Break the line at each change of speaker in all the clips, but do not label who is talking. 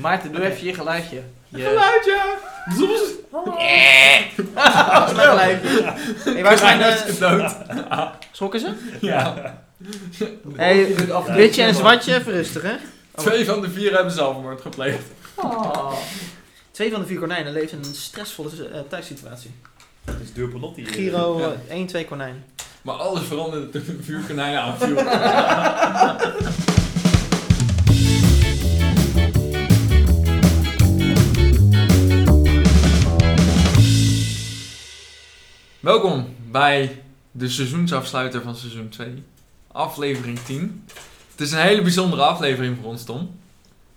Maarten, doe even je geluidje. Je...
Geluidje! Zoals...
Dat is mijn geluidje. Hey, waar zijn de...
dood.
Schrokken ze?
Ja.
Hey,
Ja.
witje en zwartje, even rustig hè.
Twee van de vier hebben zelfmoord gepleegd. Oh.
Twee van de vier konijnen leven in een stressvolle eh, thuissituatie.
Het is duur penalty hier.
Giro
Ja.
eh, 1, 2 konijn.
Maar alles veranderde toen de vuurkonijn aanviel. Welkom bij de seizoensafsluiter van seizoen 2, aflevering 10. Het is een hele bijzondere aflevering voor ons, Tom.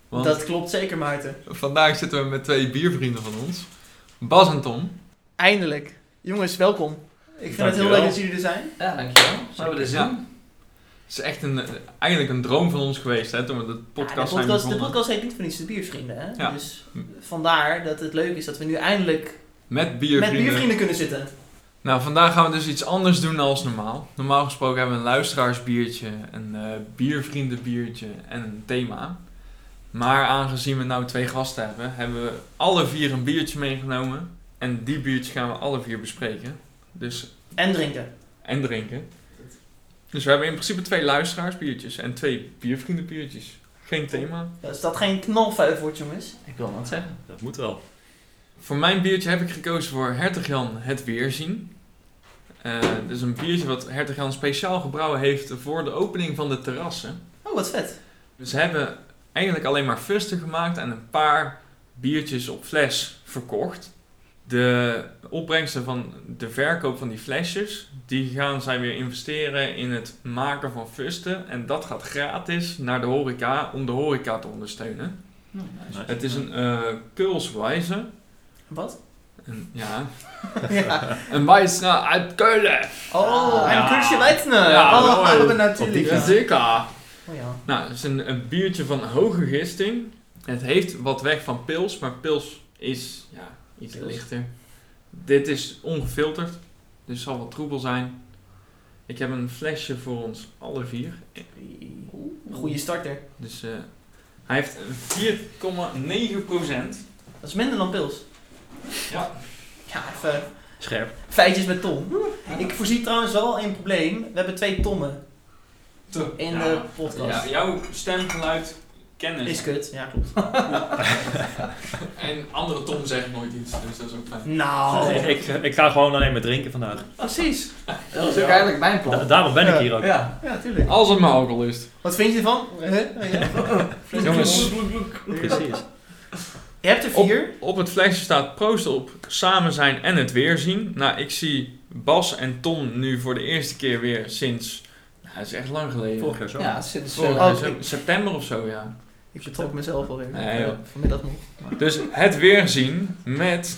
Want
Dat klopt zeker Maarten.
vandaag zitten we met twee biervrienden van ons, Bas en Tom.
Eindelijk. Jongens, welkom. Ik vind het heel
Dankjewel.
leuk dat jullie er zijn.
Ja, dankjewel. Zullen we er
Ja.
zien?
Het is echt een, eh, eigenlijk een droom van ons geweest, hè, toen we de
Ja, de,
podcast zijn
podcast, de
begonnen.
podcast heet niet voor niets de biervrienden hè.
Ja.
Dus vandaar dat het leuk is dat we nu eindelijk
Met
met
biervrienden.
biervrienden kunnen zitten.
Nou, vandaag gaan we dus iets anders doen dan normaal. Normaal gesproken hebben we een luisteraarsbiertje, een eh, biervriendenbiertje en een thema. Maar aangezien we nou twee gasten hebben, hebben we alle vier een biertje meegenomen. En die biertjes gaan we alle vier bespreken. Dus,
En drinken.
en drinken. Dus we hebben in principe twee luisteraarsbiertjes en twee biervriendenbiertjes. Geen thema.
Ja, Is Dus dat geen knalfuif wordt jongens?
Ik wil wat zeggen.
Dat moet wel.
Voor mijn biertje heb ik gekozen voor Hertog Jan Het Weerzien. Eh dus een biertje wat Hertog Jan speciaal gebrouwen heeft voor de opening van de terrassen.
Oh, wat vet.
Dus ze hebben eigenlijk alleen maar fusten gemaakt en een paar biertjes op fles verkocht. De opbrengsten van de verkoop van die flesjes, die gaan zij weer investeren in het maken van fusten. En dat gaat gratis naar de horeca om de horeca te ondersteunen.
Nou, nice.
Het is een eh Kulswijze.
Wat?
Een- ja,
ja.
Een Weissner uit Keulen.
Oh,
Ah.
en een kusje Leitner.
Ja,
oh,
mooi.
natuurlijk.
Ja, zeker.
Oh ja.
Nou, het is een, een biertje van hoge gisting. Het heeft wat weg van pils, maar pils is ja, iets
Pils.
lichter. Dit is ongefilterd, dus zal wat troebel zijn. Ik heb een flesje voor ons alle vier.
Een goede starter.
Dus eh, hij heeft 4,9 procent.
Dat is minder dan pils.
Ja.
Ja, even
Scherp.
feitjes met Tom. Ik voorzie trouwens wel één probleem. We hebben twee Tommen in
Ja.
de podcast.
Ja, jouw stemgeluid kennen
Is
ze.
kut, ja klopt.
En andere Tom zegt nooit iets, dus dat is ook fijn.
Nou.
Nee, ik, ik ga gewoon alleen maar drinken vandaag.
Precies.
Dat was ook eigenlijk mijn
Da-
plan.
daarom ben ik hier ook.
Ja.
Ja, tuurlijk.
Als het maar alcohol is.
Wat vind je ervan? Huh? Ja.
Jongens.
Precies.
Je hebt er vier.
Op het flesje staat proost op samen zijn en het weer zien. Nou, ik zie Bas en Tom nu voor de eerste keer weer sinds... Nou, het is echt lang geleden.
Vorig jaar zo.
Ja, sinds...
Vorig
eh,
jaar,
Oh,
se-
ik-
september of zo, ja.
Ik betrok mezelf alweer.
Nee, joh.
Eh, Vanmiddag nog.
Dus het weer zien met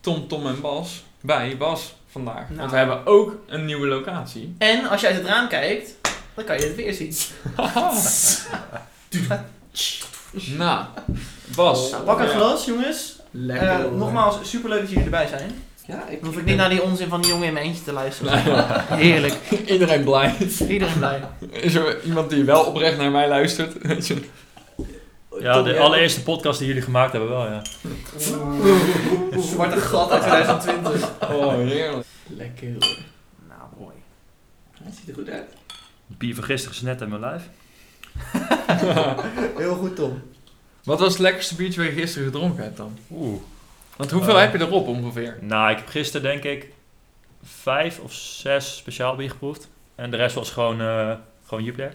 Tom, Tom en Bas bij Bas vandaag.
Nou.
Want we hebben ook een nieuwe locatie.
En als je uit het raam kijkt, dan kan je het weer zien. Oh.
nou, Bas.
Nou, pak een
Ja.
glas, jongens.
Lekker.
Eh, nogmaals, superleuk dat jullie erbij zijn.
Ja, ik...
Dan hoef ik niet naar die onzin van die jongen in mijn eentje te luisteren.
Nou, ja.
Heerlijk.
Iedereen blij.
Iedereen blij.
Is er iemand die wel oprecht naar mij luistert? Weet je?
Ja, de allereerste podcast die jullie gemaakt hebben wel, ja.
Oeh, Zwarte gat uit 2020.
Oh, heerlijk.
Lekker. hoor.
Nou, mooi.
Het ziet er goed uit.
Bier van gisteren is net in mijn lijf.
Heel goed, Tom.
Wat was het lekkerste biertje wat je gisteren gedronken hebt dan?
Oeh.
Want hoeveel
Eh.
heb je erop ongeveer?
Nou, ik heb gisteren denk ik vijf of zes speciaal bier geproefd. En de rest was gewoon, eh gewoon Jupiler.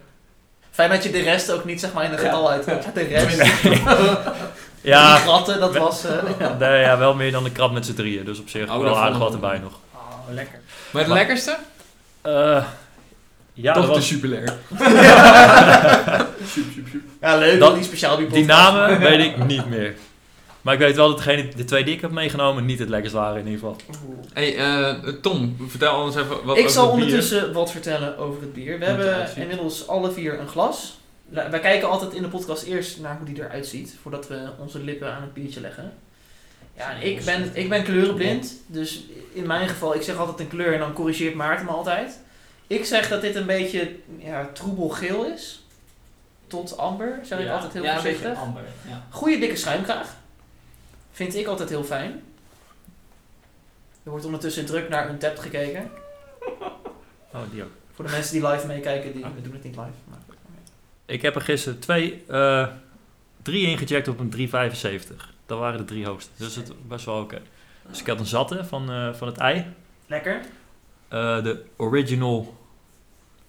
Fijn dat je de rest ook niet zeg maar in een getal uit. De rest. Die
Ja,
gratten, dat was... eh, ja.
nee, ja, wel meer dan de krab met z'n drieën. Dus op zich
Oh, dat
wel aardig
vond
wat
ik-
erbij nog.
Oh, lekker.
Maar het
Maar-
lekkerste?
Eh ja,
Toch
dat
de
was,
jubilair.
Ja, leuk.
Dat-
Dat, die speciaal die
die
podcast.
namen weet ik niet meer. Maar ik weet wel dat degene, de twee die ik heb meegenomen niet het lekkerst waren in ieder geval.
Oeh.
hey, eh, Tom, vertel ons even wat over
Ik zal
het bier.
ondertussen wat vertellen over het bier. We
Hoe het
hebben
eruit ziet.
inmiddels alle vier een glas. La- Wij kijken altijd in de podcast eerst naar hoe die eruit ziet, voordat we onze lippen aan het biertje leggen. Ja, en ik ben, ik ben kleurenblind, dus in mijn geval, ik zeg altijd een kleur en dan corrigeert Maarten me altijd. Ik zeg dat dit een beetje ja, troebelgeel is. tot amber, zeg ik
Ja.
altijd heel
ja, een beetje
voorzichtig.
amber. Ja.
Goede dikke schuimkraag. Vind ik altijd heel fijn. Er wordt ondertussen druk naar een tap gekeken.
Oh, die ook.
Voor de mensen die live meekijken, die we doen het niet live. Maar.
Ik heb er gisteren twee, eh, drie ingecheckt op een 375. Dat waren de drie hoogste. Dus het was best wel oké. Dus ik had een zatte van, eh, van het ei.
Lekker.
Eh, de original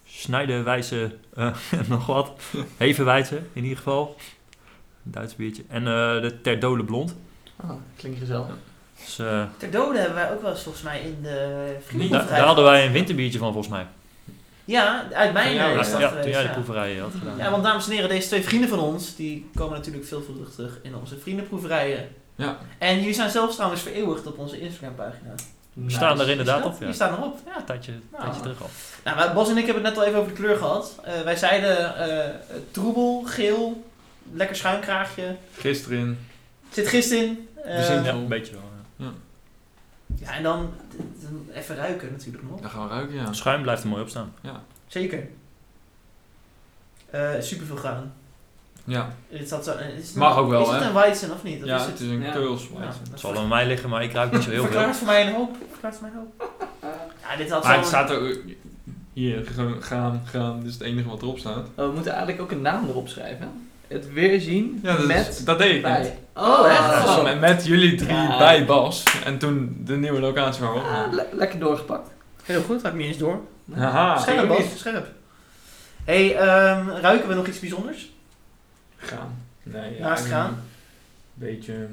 Schneiderwijze, eh nog wat. Hevenwijze in ieder geval. Een Duits biertje. En eh, de Terdole Blond.
Oh, klinkt gezellig.
Dus, eh,
Ter dode hebben wij ook wel eens volgens mij in de
da-
vriendenproeverij
daar hadden
gehad.
wij een winterbiertje van volgens mij.
Ja, uit mijn
Ja,
eh,
Ja,
is dat
ja,
geweest,
toen jij de
ja.
proeverijen had gedaan.
Ja, want dames en heren, deze twee vrienden van ons, die komen natuurlijk veelvuldig terug in onze vriendenproeverijen.
Ja.
En jullie zijn zelfs trouwens vereeuwigd op onze Instagram-pagina. Is
We staan daar inderdaad
dat?
op. Ja.
Die staan erop.
Ja, een tijdje, een
Nou.
tijdje terug al.
Nou, maar Bas en ik hebben het net al even over de kleur gehad. Eh, wij zeiden eh, troebel, geel, lekker schuinkraagje.
Gisteren in.
Zit gist in. Eh,
We zien
Ja,
Ja.
een beetje wel. ja.
ja, en dan d- d- even ruiken natuurlijk nog.
Daar gaan we ruiken, ja.
Nou, Schuim blijft er mooi op staan.
Zeker. Eh super veel graan.
Ja,
Is dat zo, eh, is het
Mag
een-
ook wel,
Is het
hè?
een Weizen of niet? Dat
ja
is
het
het.
is een
Ja.
keulswijze.
Ja.
Het zal aan mij liggen, maar ik ruik niet zo heel veel.
Verklaart voor mij een hoop. Verklaart voor mij een hoop. Ja, dit had
Maar het
zo'n-
staat er... Hier, gewoon graan, graan. Dit is het enige wat erop staat.
Oh, we moeten eigenlijk ook een naam erop schrijven. Het weerzien
Ja, dat,
met
is- dat deed ik net.
bij. Oh,
Ja,
echt?
dus
Oh.
met, met jullie drie
Ja.
bij Bas. En toen de nieuwe locatie waar we
Ah,
opnamen.
le- lekker doorgepakt.
Heel goed, had ik niet eens door.
Haha.
scherp,
ik ook
Bas, scherp. hey, ehm, ruiken we nog iets bijzonders?
Gaan. Nee,
Naast
eigenlijk
gaan?
een Beetje...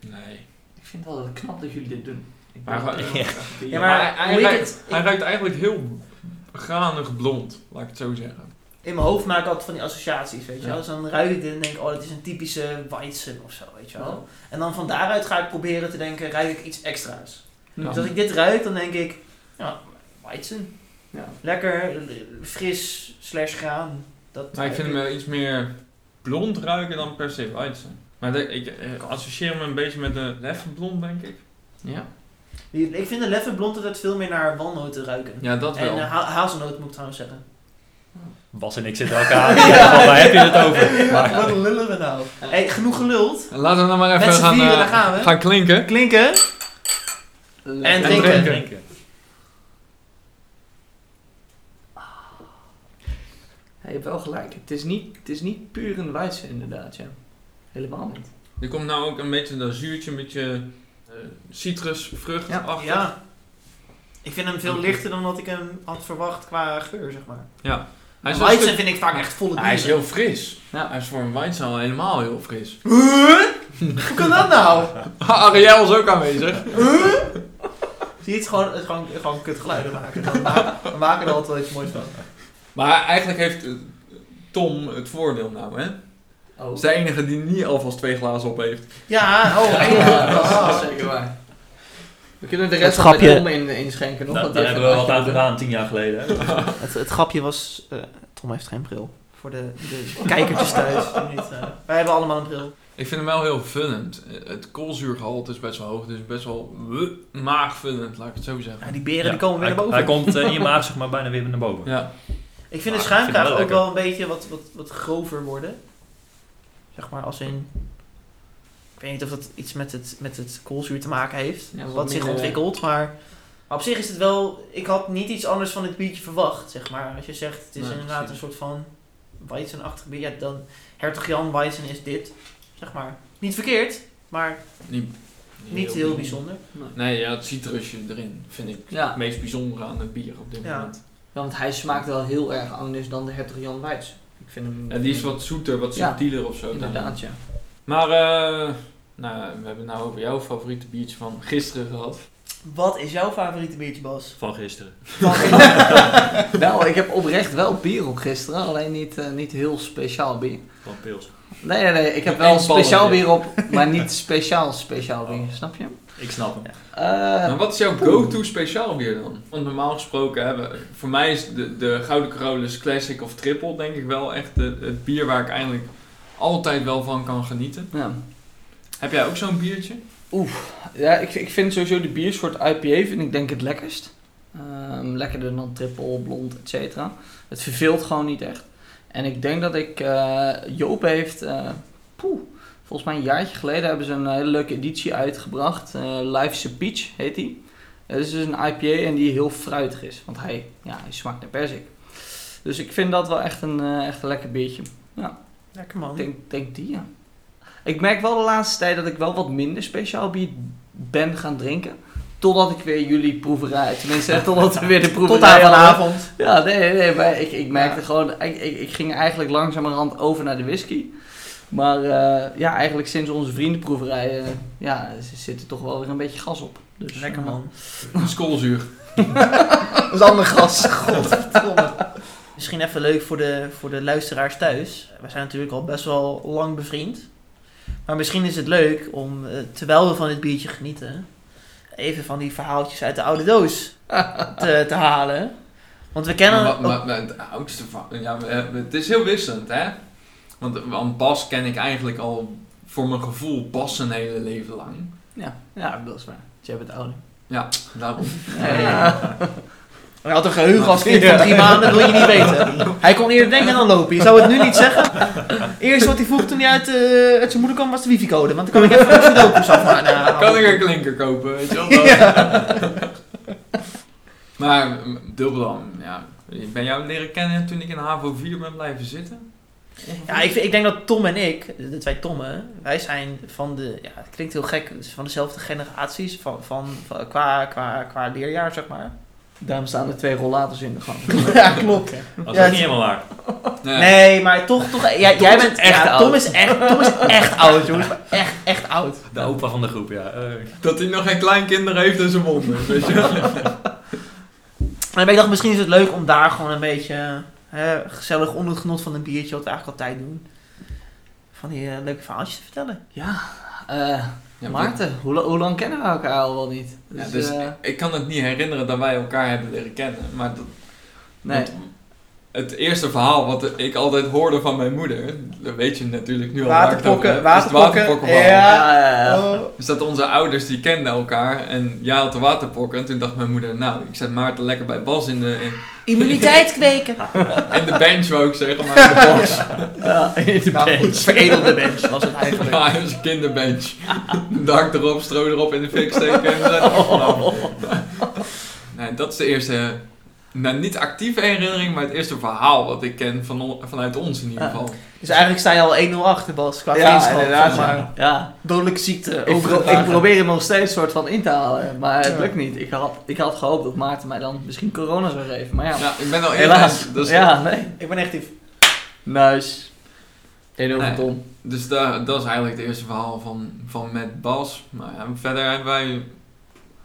Nee.
Ik vind het altijd knap dat jullie dit doen. Ik
Maar
ben-
gewoon-
Ja,
maar
maar
hij-
hoe ik
hij-
het,
Hij ruikt eigenlijk heel granig blond, laat ik het zo zeggen.
in mijn hoofd maak ik altijd van die associaties, weet je
Ja.
wel. Dus dan ruik ik dit en denk ik, oh, dit is een typische Weizen of zo, weet je wel.
Ja.
En dan van daaruit ga ik proberen te denken, ruik ik iets extra's.
Ja.
Dus als ik dit ruik, dan denk ik, ja, Weizen.
Ja.
Lekker, fris, slash graan. Dat eh,
Maar ik vind hem eh,
ruik
wel iets meer blond ruiken dan per se white. Maar de- ik eh, associeer hem een beetje met een leffe blond, denk ik.
Ja.
ik. Ik vind de Leffen Blond altijd veel meer naar walnoten ruiken.
Ja, dat
en
wel.
eh, ha- hazelnoot moet ik trouwens zeggen.
Bas en ik zitten elkaar aan. Waar heb je het over? Maar-
Wat lullen we nou? Hey, genoeg geluld.
Laten we dan maar
Met
even
z'n
gaan,
vieren,
eh,
daar gaan we.
gaan klinken.
Klinken. En
drinken.
drinken.
Hij heeft wel gelijk. Het is niet, het is niet puur een wijze inderdaad, ja. Helemaal niet.
Er komt nou ook een beetje dat zuurtje, een beetje eh, citrusvrucht
Ja.
achter.
Ja. Ik vind hem veel lichter dan wat ik hem had verwacht qua geur, zeg maar.
Hij is, wel
Weizen
een stuk-
vind ik vaak echt volle bier.
hij is heel fris.
Ja.
Hij is voor een white al helemaal heel fris.
Huh? Hoe kan dat nou?
Ariel is ook aanwezig.
Zie je, het is gewoon, het is gewoon, gewoon kut geluiden maken. Dan ma- We maken er altijd wel iets moois van.
Maar eigenlijk heeft eh, Tom het voordeel nou, hè?
Oh.
Dat is de enige die niet alvast twee glazen op heeft.
Ja, oh.
Ja,
ja.
dat is- dat is
Ah.
zeker waar. We kunnen de
Het
rest nog
grapje-
met Tom in, eh, inschenken. Nog,
Nou,
want
daar
die
hebben we
heeft
wat aan
een-
gedaan tien jaar geleden. hè.
Het, het grapje was... eh, Tom heeft geen bril. Voor de, de kijkertjes thuis. die Niet, eh, wij hebben allemaal een bril.
Ik vind hem wel heel vullend. Eh, Het koolzuurgehalte is best wel hoog, dus best wel wuh, maagvullend, laat ik het zo zeggen.
Nou, die beren
Ja,
die komen weer
hij,
naar boven.
Hij komt eh, in je maag zeg maar bijna weer naar boven.
Ja,
Ik vind
Maar
de
Ah, ik vind het
schuimkraag
wel
ook
lekker.
wel een beetje wat, wat, wat grover worden. Zeg maar als in. Ik weet niet of dat iets met het, met het koolzuur te maken heeft.
Ja,
wat
wat
zich
minder-
ontwikkelt. Maar, maar op zich is het wel. Ik had niet iets anders van dit biertje verwacht. Zeg maar als je zegt het is
Nee,
inderdaad
precies.
een soort van. Weizenachtig bier. Ja, dan. Hertog Jan Weizen is dit. Zeg maar. Niet verkeerd, maar
niet,
niet heel, bijzonder.
Nee, ja, het citrusje erin vind ik
Ja.
het meest bijzondere aan het bier op dit
Ja.
moment.
Ja, Want hij smaakt wel heel erg anders dan de hertog Jan Weitz. Ik vind hem...
Ja, die is wat zoeter, wat
Ja,
subtieler of zo.
Inderdaad, ja.
Maar eh, nou, we hebben het nou over jouw favoriete biertje van gisteren gehad.
Wat is jouw favoriete biertje, Bas?
Van gisteren.
wel, ik heb oprecht wel bier op gisteren. Alleen niet, eh, niet heel speciaal bier.
Van Pils.
Nee, nee, nee. Ik heb
Eén
wel
balletje.
speciaal bier op, maar niet speciaal speciaal bier.
Oh.
Snap je?
Ik snap hem.
Eh
Maar wat is jouw go-to speciaal bier dan? Want normaal gesproken hebben, voor mij is de, de Gouden Carolus Classic of Triple denk ik wel echt de- het bier waar ik eigenlijk altijd wel van kan genieten.
ja.
Heb jij ook zo'n biertje?
Ja, ik, ik vind sowieso de biersoort IPA vind ik denk ik het lekkerst. Ehm, lekkerder dan triple, blond, et cetera. Het verveelt gewoon niet echt. En ik denk dat ik... eh, Joop heeft... eh, poeh, volgens mij een jaartje geleden hebben ze een eh, hele leuke editie uitgebracht. Eh Life's a Peach heet die. Het is dus een IPA en die heel fruitig is. Want hij, ja, hij smaakt naar persik. Dus ik vind dat wel echt een, eh, echt een lekker biertje.
Lekker man.
Ik Oh. denk, denk die, ja. Ik merk wel de laatste tijd dat ik wel wat minder speciaal bier ben gaan drinken. Totdat ik weer jullie proeverij... Tenminste, totdat we weer de proeverij
Tot aan
hadden.
vanavond.
Ja, nee, nee, maar ik, ik merkte
Ja.
gewoon, ik, ik, ik ging eigenlijk langzamerhand over naar de whisky. Maar eh, ja, eigenlijk sinds onze vriendenproeverij eh, ja, ze zit er toch wel weer een beetje gas op. Dus,
Lekker
eh,
man.
Skoolzuur.
Dat is ander gas.
Godverdomme. Misschien even leuk voor de, voor de luisteraars thuis. We zijn natuurlijk al best wel lang bevriend. Maar misschien is het leuk om, eh, terwijl we van dit biertje genieten, even van die verhaaltjes uit de oude doos te, te halen. Want we kennen.
Maar, maar- maar het oudste van... Ja, we- we- het is heel wisselend, hè? Want, want Bas ken ik eigenlijk al voor mijn gevoel Bas zijn hele leven lang.
Ja, ja, dat is waar. Jij bent ouder.
Ja, daarom.
Ja.
Eh. Hij had een geheugen als kind van drie maanden, wil je niet weten. Hij kon eerder denken dan lopen. Je zou het nu niet zeggen. Eerst wat hij vroeg toen hij uit, eh, uit zijn moeder kwam was de wifi-code. Want dan kan ik even de sudoku's afhalen.
kan ik een klinker kopen, weet je wel? Maar m, Dubbelham, ja. Ik ben jou leren kennen toen ik in HAVO 4 ben blijven zitten.
Ja, ik, vind- ik denk dat Tom en ik, de twee Tommen, wij zijn van de, ja, het klinkt heel gek, dus van dezelfde generaties van, van, van- qua, qua, qua leerjaar, zeg maar.
Daarom staan er twee rollators in de gang. Eh,
ja, klopt.
Dat is
Ja,
ook
het-
niet helemaal waar.
Nee.
Nee, maar toch, toch jij, jij
is echt
bent echt
oud.
Tom is echt, Tom is echt oud, jongens. maar Echt, echt oud.
De opa van de groep, ja. Eh,
Dat hij nog geen kleinkinderen heeft in zijn mond, weet je wel?
En ik dacht, misschien is het leuk om daar gewoon een beetje hè, gezellig onder het genot van een biertje, wat we eigenlijk altijd doen, van die eh, leuke verhaaltjes te vertellen.
Ja, eh,
Ja, maar
Maarten, hoe, la- hoe lang kennen we elkaar al wel niet?
Ja,
Dus,
dus
eh,
ik- ik kan het niet herinneren dat wij elkaar hebben leren kennen. Maar dat,
nee.
want het eerste verhaal wat ik altijd hoorde van mijn moeder, dat weet je natuurlijk nu al. waar ik het
Waterpokken,
over
Eh,
heb, is het
waterpokken,
waterpokkenverhaal.
ja.
Ja,
Eh,
Dus dat onze ouders die kenden elkaar en jij had de waterpokken. En toen dacht mijn moeder, nou, ik zet Maarten lekker bij Bas in de, in,
Immuniteit kweken.
in de bench, wou ik zeggen, maar in de box.
ja, in de
Nou goed,
bench.
veredelde bench was het eigenlijk.
Ja, dat is een kinderbench. Dak erop, stro erop in de fik steken en zet afgelopen. Nee, dat is de eerste, nou niet actieve herinnering, maar het eerste verhaal wat ik ken van, on- vanuit ons in ieder
Ja.
geval.
Dus eigenlijk sta je al 1-0 achter, Bas, qua
Ja,
vriendschap.
inderdaad,
zeg maar.
ja. ja. Eh,
Dodelijke ziekte.
Ik, pro-
overgedragen.
ik probeer hem nog steeds soort van in te halen, maar het
Ja.
lukt niet. Ik had, ik had gehoopt dat Maarten mij dan misschien corona zou geven, maar ja.
Ja, ik ben al eerder.
Helaas.
Dus,
ja, nee.
Ik ben echt die...
Nice. 1 over
Nee.
Tom.
dus da- dat is eigenlijk het eerste verhaal van, van met Bas. Maar ja, verder hebben wij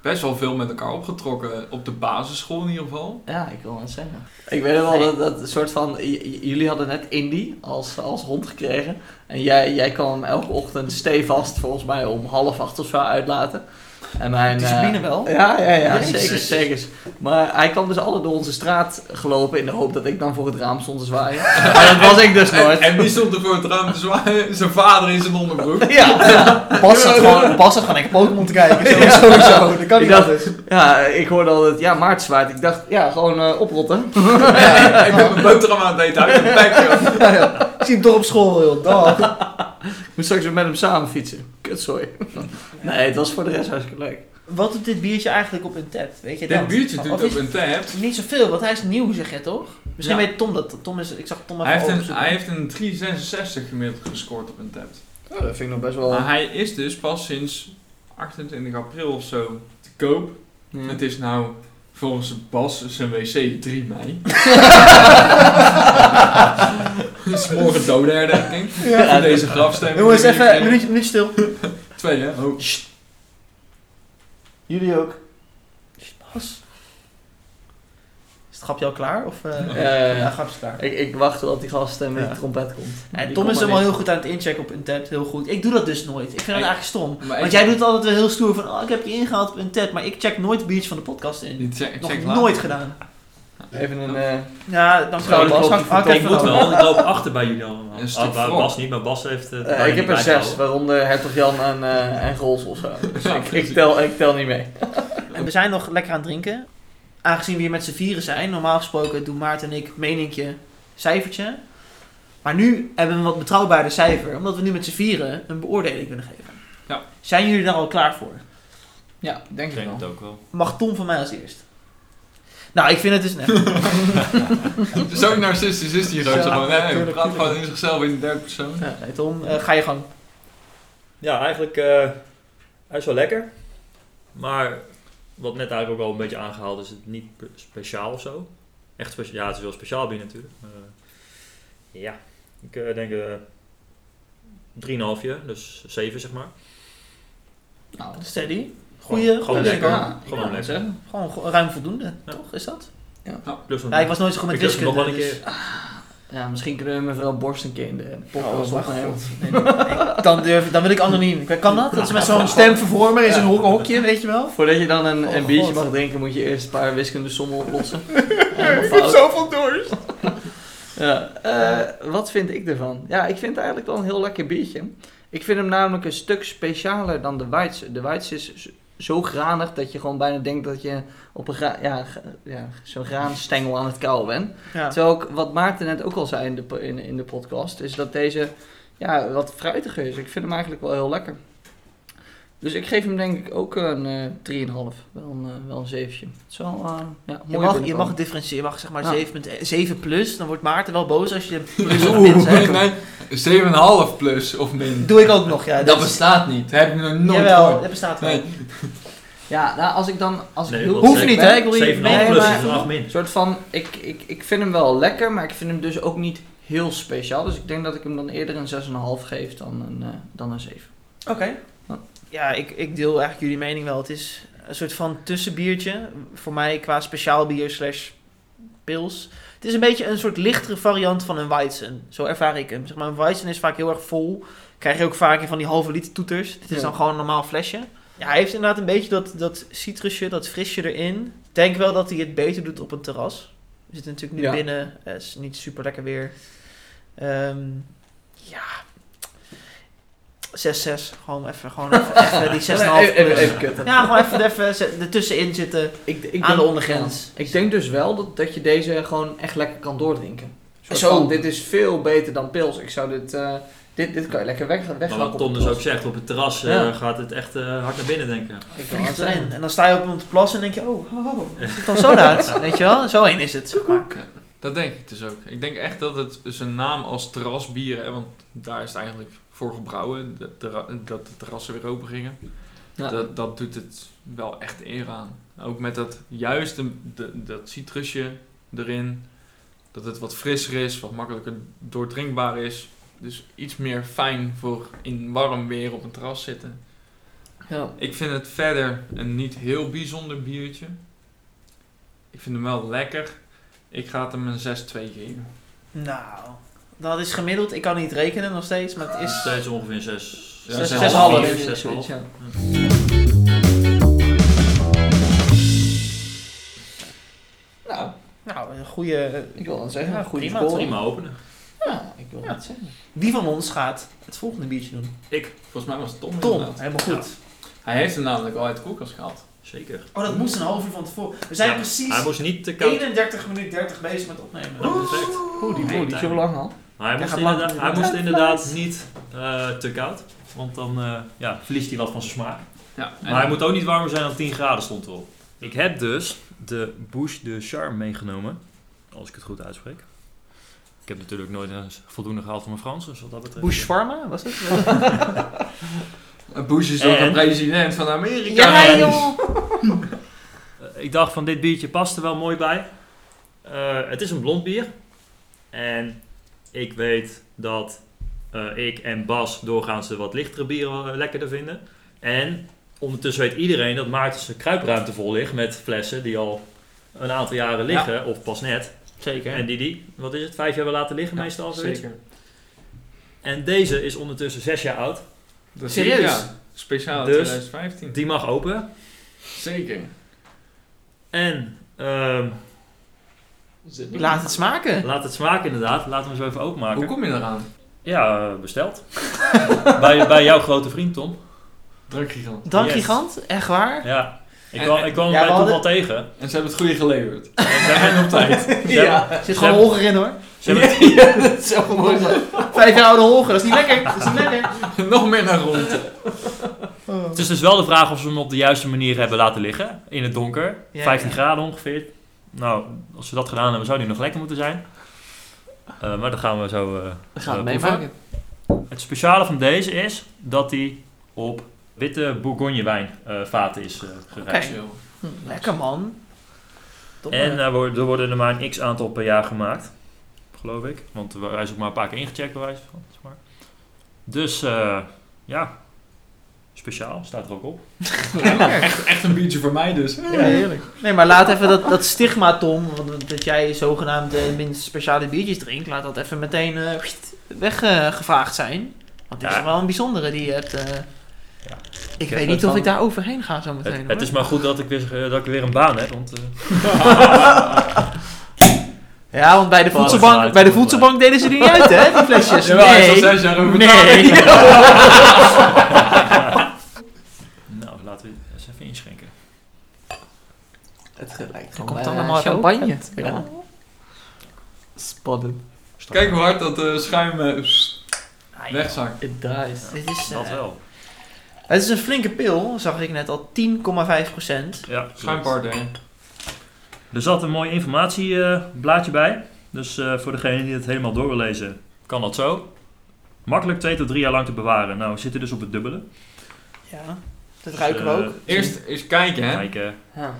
best wel veel met elkaar opgetrokken. Op de basisschool in ieder geval.
Ja, ik wil het zeggen. Ik weet wel dat, dat soort van... j- j- jullie hadden net Indy als, als hond gekregen. En jij, jij kwam hem elke ochtend stevast volgens mij om half acht of zo uitlaten. En mijn... eh,
Discipline
Oh.
wel.
Ja, ja, ja,
Jezus.
zeker, zeker. Maar hij kwam dus alle door onze straat gelopen in de hoop dat ik dan voor het raam stond te zwaaien. maar dat was ik dus nooit.
En, en wie stond er voor het raam te zwaaien? Zijn vader in zijn onderbroek.
Ja,
Bas zat gewoon, Bas zat gewoon lekker Pokémon te kijken. Zo,
Ja.
Sowieso, dat kan
Ik
niet
dacht-
anders.
ja, ik hoorde altijd, ja, Maart zwaait. Ik dacht, ja, gewoon eh, oprotten.
Ja, ik heb mijn boterham aan het eten uit mijn bek, joh.
Ik zie hem toch op school, joh. Dag.
Ik moet straks weer met hem samen fietsen. Kut, sorry. Nee, het was voor de rest hartstikke leuk.
Wat doet dit biertje eigenlijk op een tap? Weet je
Dit
dat?
biertje
Of
doet
is
op een tab.
het Niet zoveel, want hij is nieuw, zeg je toch? Misschien
Ja.
weet Tom dat. Tom is, ik zag Tom even
Hij heeft, een,
overzoeken.
hij heeft een 366 gemiddeld gescoord op een tab.
Oh, dat vind ik nog best
Maar hij is dus pas sinds 28 april of zo te koop.
Hmm.
Het is nou volgens Bas zijn wc 3 mei. Het is morgen doodherdenking.
Ja.
Voor deze grafsteen.
Jongens, even een minuutje, minuutje stil.
Twee, hè? Oh.
Jullie ook. Bas. Is het grapje al klaar? Of, eh,
Ja, ja, ja.
ja, grapje is klaar.
Ik, ik wacht totdat die gast eh, met
Ja.
die trompet komt.
Nee,
Die
Tom
komt
is
maar
hem al
niet.
heel goed aan het inchecken op Untappd, heel goed. Ik doe dat dus nooit. Ik vind dat
Ik-
eigenlijk stom.
Maar
Want
ik-
jij doet altijd wel heel stoer van, oh, ik heb je ingehaald op Untappd, maar ik check nooit biertje van de podcast in.
Dit check,
Nog
check later.
nooit gedaan.
Even een... eh,
Ja, dan
Schouderklopje
Bas, hak-
voor
hak
Tom.
even
ik moet
van.
wel, want ik loop achter bij jullie allemaal.
Een stuk
Ah, waar
voor.
Bas niet, maar Bas heeft... eh,
eh,
bijna
ik heb
niet
er zes,
bijgehouden.
waaronder Hertog Jan en, eh en Rols of zo. Dus
Ja,
ik, ik,
precies.
tel, ik tel niet mee.
En we zijn nog lekker aan het drinken. Aangezien we hier met z'n vieren zijn, normaal gesproken doen Maarten en ik meninkje, cijfertje. Maar nu hebben we een wat betrouwbaarder cijfer, omdat we nu met z'n vieren een beoordeling kunnen geven.
Ja.
Zijn jullie daar al klaar voor?
Ja, denk
Ik
ik
denk
wel.
het ook wel.
Mag Tom van mij als eerst? Nou, ik vind het dus... Nee.
Zo narcistisch is die
Ja,
roze gewoon. Nee, hij
tuurlijk,
praat
tuurlijk.
gewoon in zichzelf in de derde persoon.
Ja, nee, Tom, eh, ga je gang.
Ja, eigenlijk eh hij is wel lekker. Maar wat net eigenlijk ook al een beetje aangehaald is, het niet pe- speciaal of zo. Echt speciaal. Ja, het is wel speciaal bier natuurlijk. maar, eh, ja, ik eh, denk eh 3,5, dus 7 zeg maar.
Nou,
Steady.
Gewoon-
Goeie-
gewoon
goeie
lekker.
smaak.
Gewoon
Ja,
lekker.
zeggen.
Gewoon go- ruim voldoende,
Ja.
toch? Is dat?
Plus een-
Ja, ik was nooit zo goed met
Ik durf
wiskunde.
nog wel een
dus-
keer.
Ja, misschien kunnen we mevrouw Borst een keer in de podcast
Oh,
opnemen.
Nee, nee, nee. dan, durf, dan wil ik anoniem. Ik- Kan dat? Dat ze met zo'n stemvervormer in zo'n hok- hokje, weet je wel?
Voordat je dan een,
Oh,
een biertje
God.
mag drinken, moet je eerst een paar wiskundesommen oplossen.
Ik heb zoveel doors.
Ja, eh, wat vind ik ervan? Ja, ik vind het eigenlijk wel een heel lekker biertje. Ik vind hem namelijk een stuk specialer dan de Weitse. De Weitse is z- zo granig dat je gewoon bijna denkt dat je op een gra- ja, ge- ja, zo'n graanstengel aan het kauwen bent.
Ja.
Terwijl ik, wat Maarten net ook al zei in de, po- in, in de podcast, is dat deze ja, wat fruitiger is. Ik vind hem eigenlijk wel heel lekker. Dus ik geef hem denk ik ook een eh 3,5. Wel een, eh, wel een zeventje. Het is wel eh, ja,
Je
mooi.
mag, je mag het differentiëren. Je mag zeg maar
Ja.
7.1 7 plus. Dan wordt Maarten wel boos als je plus of min
Oeh,
zegt.
nee, 7,5 plus of min.
Doe ik ook nog, ja.
dat
is-
bestaat niet. Dat heb ik nog nooit
Jawel,
gehoord.
dat bestaat wel.
Nee,
Ja, nou, als ik dan. Als
Nee,
ik heel
want
Hoeft
zeven-
niet, hè? Ik wil je-
7,5
nee,
plus
maar-
is een 8 min.
Een soort van, ik, ik, ik vind hem wel lekker, maar ik vind hem dus ook niet heel speciaal. Dus ik denk dat ik hem dan eerder een 6,5 geef dan een, eh, dan een 7.
Oké. Ja, ik, ik deel eigenlijk jullie mening wel. Het is een soort van tussenbiertje. Voor mij qua speciaal bier slash pils. Het is een beetje een soort lichtere variant van een Weizen. Zo ervaar ik hem. Zeg maar, een Weizen is vaak heel erg vol. Krijg je ook vaak in van die halve liter toeters. Dit is
Ja.
dan gewoon een normaal flesje. Ja, hij heeft inderdaad een beetje dat, dat citrusje, dat frisje erin. Ik denk wel dat hij het beter doet op een terras. We zitten natuurlijk nu
Ja.
binnen. Het is niet super lekker weer. Ehm, ja. 6-6. Gewoon even, gewoon even, even die 6,5
Even, Eh, even,
plus.
even kutten.
Ja, gewoon even, even ze- ertussenin zitten.
Ik, ik
Aan de
denk-
ondergrens.
Ik denk dus wel dat, dat je deze gewoon echt lekker kan doordrinken. Soort
Zo.
van, dit is veel beter dan pils. Ik zou dit, eh, dit, dit kan je lekker weg,
Maar
weggaan.
wat Tom dus ook zegt, op het terras eh,
Ja.
gaat het echt eh, hard naar binnen denken.
Vliegt erin. En dan sta je op een plas en denk je, oh, oh, oh, is het dan zo laat? Weet je wel? Zo heen is het. zeg maar.
dat denk ik dus ook. Ik denk echt dat het zijn naam als terrasbier, hè, want daar is het eigenlijk voor gebrouwen, dat, terra- dat de terrassen weer open gingen.
Ja.
Dat, dat doet het wel echt eer aan. Ook met dat juist een- de- dat citrusje erin, dat het wat frisser is, wat makkelijker doordrinkbaar is. Dus iets meer fijn voor in warm weer op een terras zitten.
Ja.
Ik vind het verder een niet heel bijzonder biertje. Ik vind hem wel lekker. Ik ga het hem een 6-2 geven.
Nou, dat is gemiddeld. Ik kan niet rekenen nog steeds, maar het
Het is
is...
steeds ongeveer 6.
Ja, zes-
half.
Ja. Nou,
Nou, een goede...
ik wil dan zeggen,
Ja,
een goede
prima,
score.
Prima openen.
Ja, ik wil
Ja.
het zeggen.
Wie van ons gaat het volgende biertje doen?
Ik, volgens mij was het Tom.
Tom,
inderdaad.
helemaal goed.
Hij heeft hem namelijk al uit de koelkast gehad.
Zeker.
Oh, dat moest een half uur van tevoren. We zijn
Ja, Hij
precies
moest niet te koud.
31 minuten 30 bezig met opnemen.
Ja, perfect.
Oeh, die
Nee,
boel, die is zo
timer.
lang al.
Maar hij
Hij
moest,
gaat lang
inderdaad,
duren.
hij moest
Hij
inderdaad niet eh, te koud. Want dan eh, ja, verliest hij wat van zijn smaak.
Ja, en-
Maar hij moet ook niet warmer zijn dan 10 graden stond erop. Ik heb dus de Bouche de Charme meegenomen. Als ik het goed uitspreek. Ik heb natuurlijk nooit een voldoende gehaald van mijn Frans. Dus wat dat betreft...
Bush Pharma, was het?
Eh, Bush is ook
En-
de president van Amerika.
Ja, joh!
Eh, ik dacht van dit biertje past er wel mooi bij. Eh, het is een blond bier. En ik weet dat eh, ik en Bas doorgaans de wat lichtere bieren eh, lekkerder vinden. En ondertussen weet iedereen dat Maarten's kruipruimte vol ligt met flessen die al een aantal jaren liggen, of pas net.
Zeker.
En die die, wat is het, vijf jaar hebben laten liggen
Ja,
meestal. zoiets.
Zeker.
En deze is ondertussen zes jaar oud.
Dat zie ik,
Serieus?
ja. Speciaal
Dus-
2015.
Die mag open.
Zeker.
En ehm,
Laat het smaken.
laat het smaken inderdaad. Laten we hem zo even openmaken.
Hoe kom je eraan?
Ja, eh, besteld. bij, bij jouw grote vriend, Tom.
Drukgigant.
Dank
Yes.
gigant, echt waar.
Ja. Ik
En-
kwam,
en-
ik kwam
Ja,
hem
we
bij Tom
hadden-
wel tegen.
En ze hebben het goede geleverd.
En Ze hebben op tijd. Ze, hebben,
Zit gewoon hoger in hoor.
ze hebben-
ja, dat is zo mooi.
Vijf jaar oude Holger, dat is niet lekker. Dat is niet lekker. Oh.
Nog meer naar rond.
Het is dus wel de vraag of ze hem op de juiste manier hebben laten liggen. In het donker.
Ja,
15
ja.
graden ongeveer. Nou, als ze dat gedaan hebben, zou die nog lekker moeten zijn. Eh, maar dat gaan we zo... eh,
We gaan
eh,
het meemaken.
Het speciale van deze is dat hij op witte bourgognewijn eh vaten is eh gerijpt.
Oké. Hm, Lekker man. Top,
En
man.
daar worden, er worden er maar een x aantal per jaar gemaakt, geloof ik. Want hij is ook maar een paar keer ingecheckt bij wijze van. zeg maar. Dus eh, ja, speciaal staat er ook op.
Echt, echt een biertje voor mij dus.
Ja, heerlijk. Nee, maar laat even dat, dat stigma, Tom, want dat jij zogenaamd de minst speciale biertjes drinkt, laat dat even meteen weggevaagd zijn. Want dit
Ja.
is wel een bijzondere die je hebt. eh. Ik weet
heb het
niet of
van-
ik daar overheen ga zo meteen.
Het,
hoor.
het is maar goed dat ik weer, eh, dat ik weer een baan heb, want eh,
Ja, want bij de
Van het
voedselbank,
geluid,
bij de
van het
voedselbank deden ze die niet uit, hè? Die flesjes.
Jawel, hij is al
Nee.
zes jaar over
Nee.
nou, laten we het eens even inschenken.
Het lijkt
Er komt
bijna
allemaal rook
Eh, champagne.
uit.
Ja. Spannend.
Kijk hoe hard dat eh, schuim eh, pss,
Ah, ja,
wegzakt.
Het draait.
Dit is, eh,
Dat wel.
het is een flinke pil, zag ik net al. 10,5 procent.
Ja,
Schuimpartner.
Er zat een mooi informatieblaadje bij. Dus eh, voor degene die het helemaal door wil lezen, kan dat zo. Makkelijk twee tot drie jaar lang te bewaren. Nou, we zitten dus op het dubbele.
Ja, dat ruiken we
Eh,
ook.
Eerst eens kijken, hè.
Kijken.
Ja.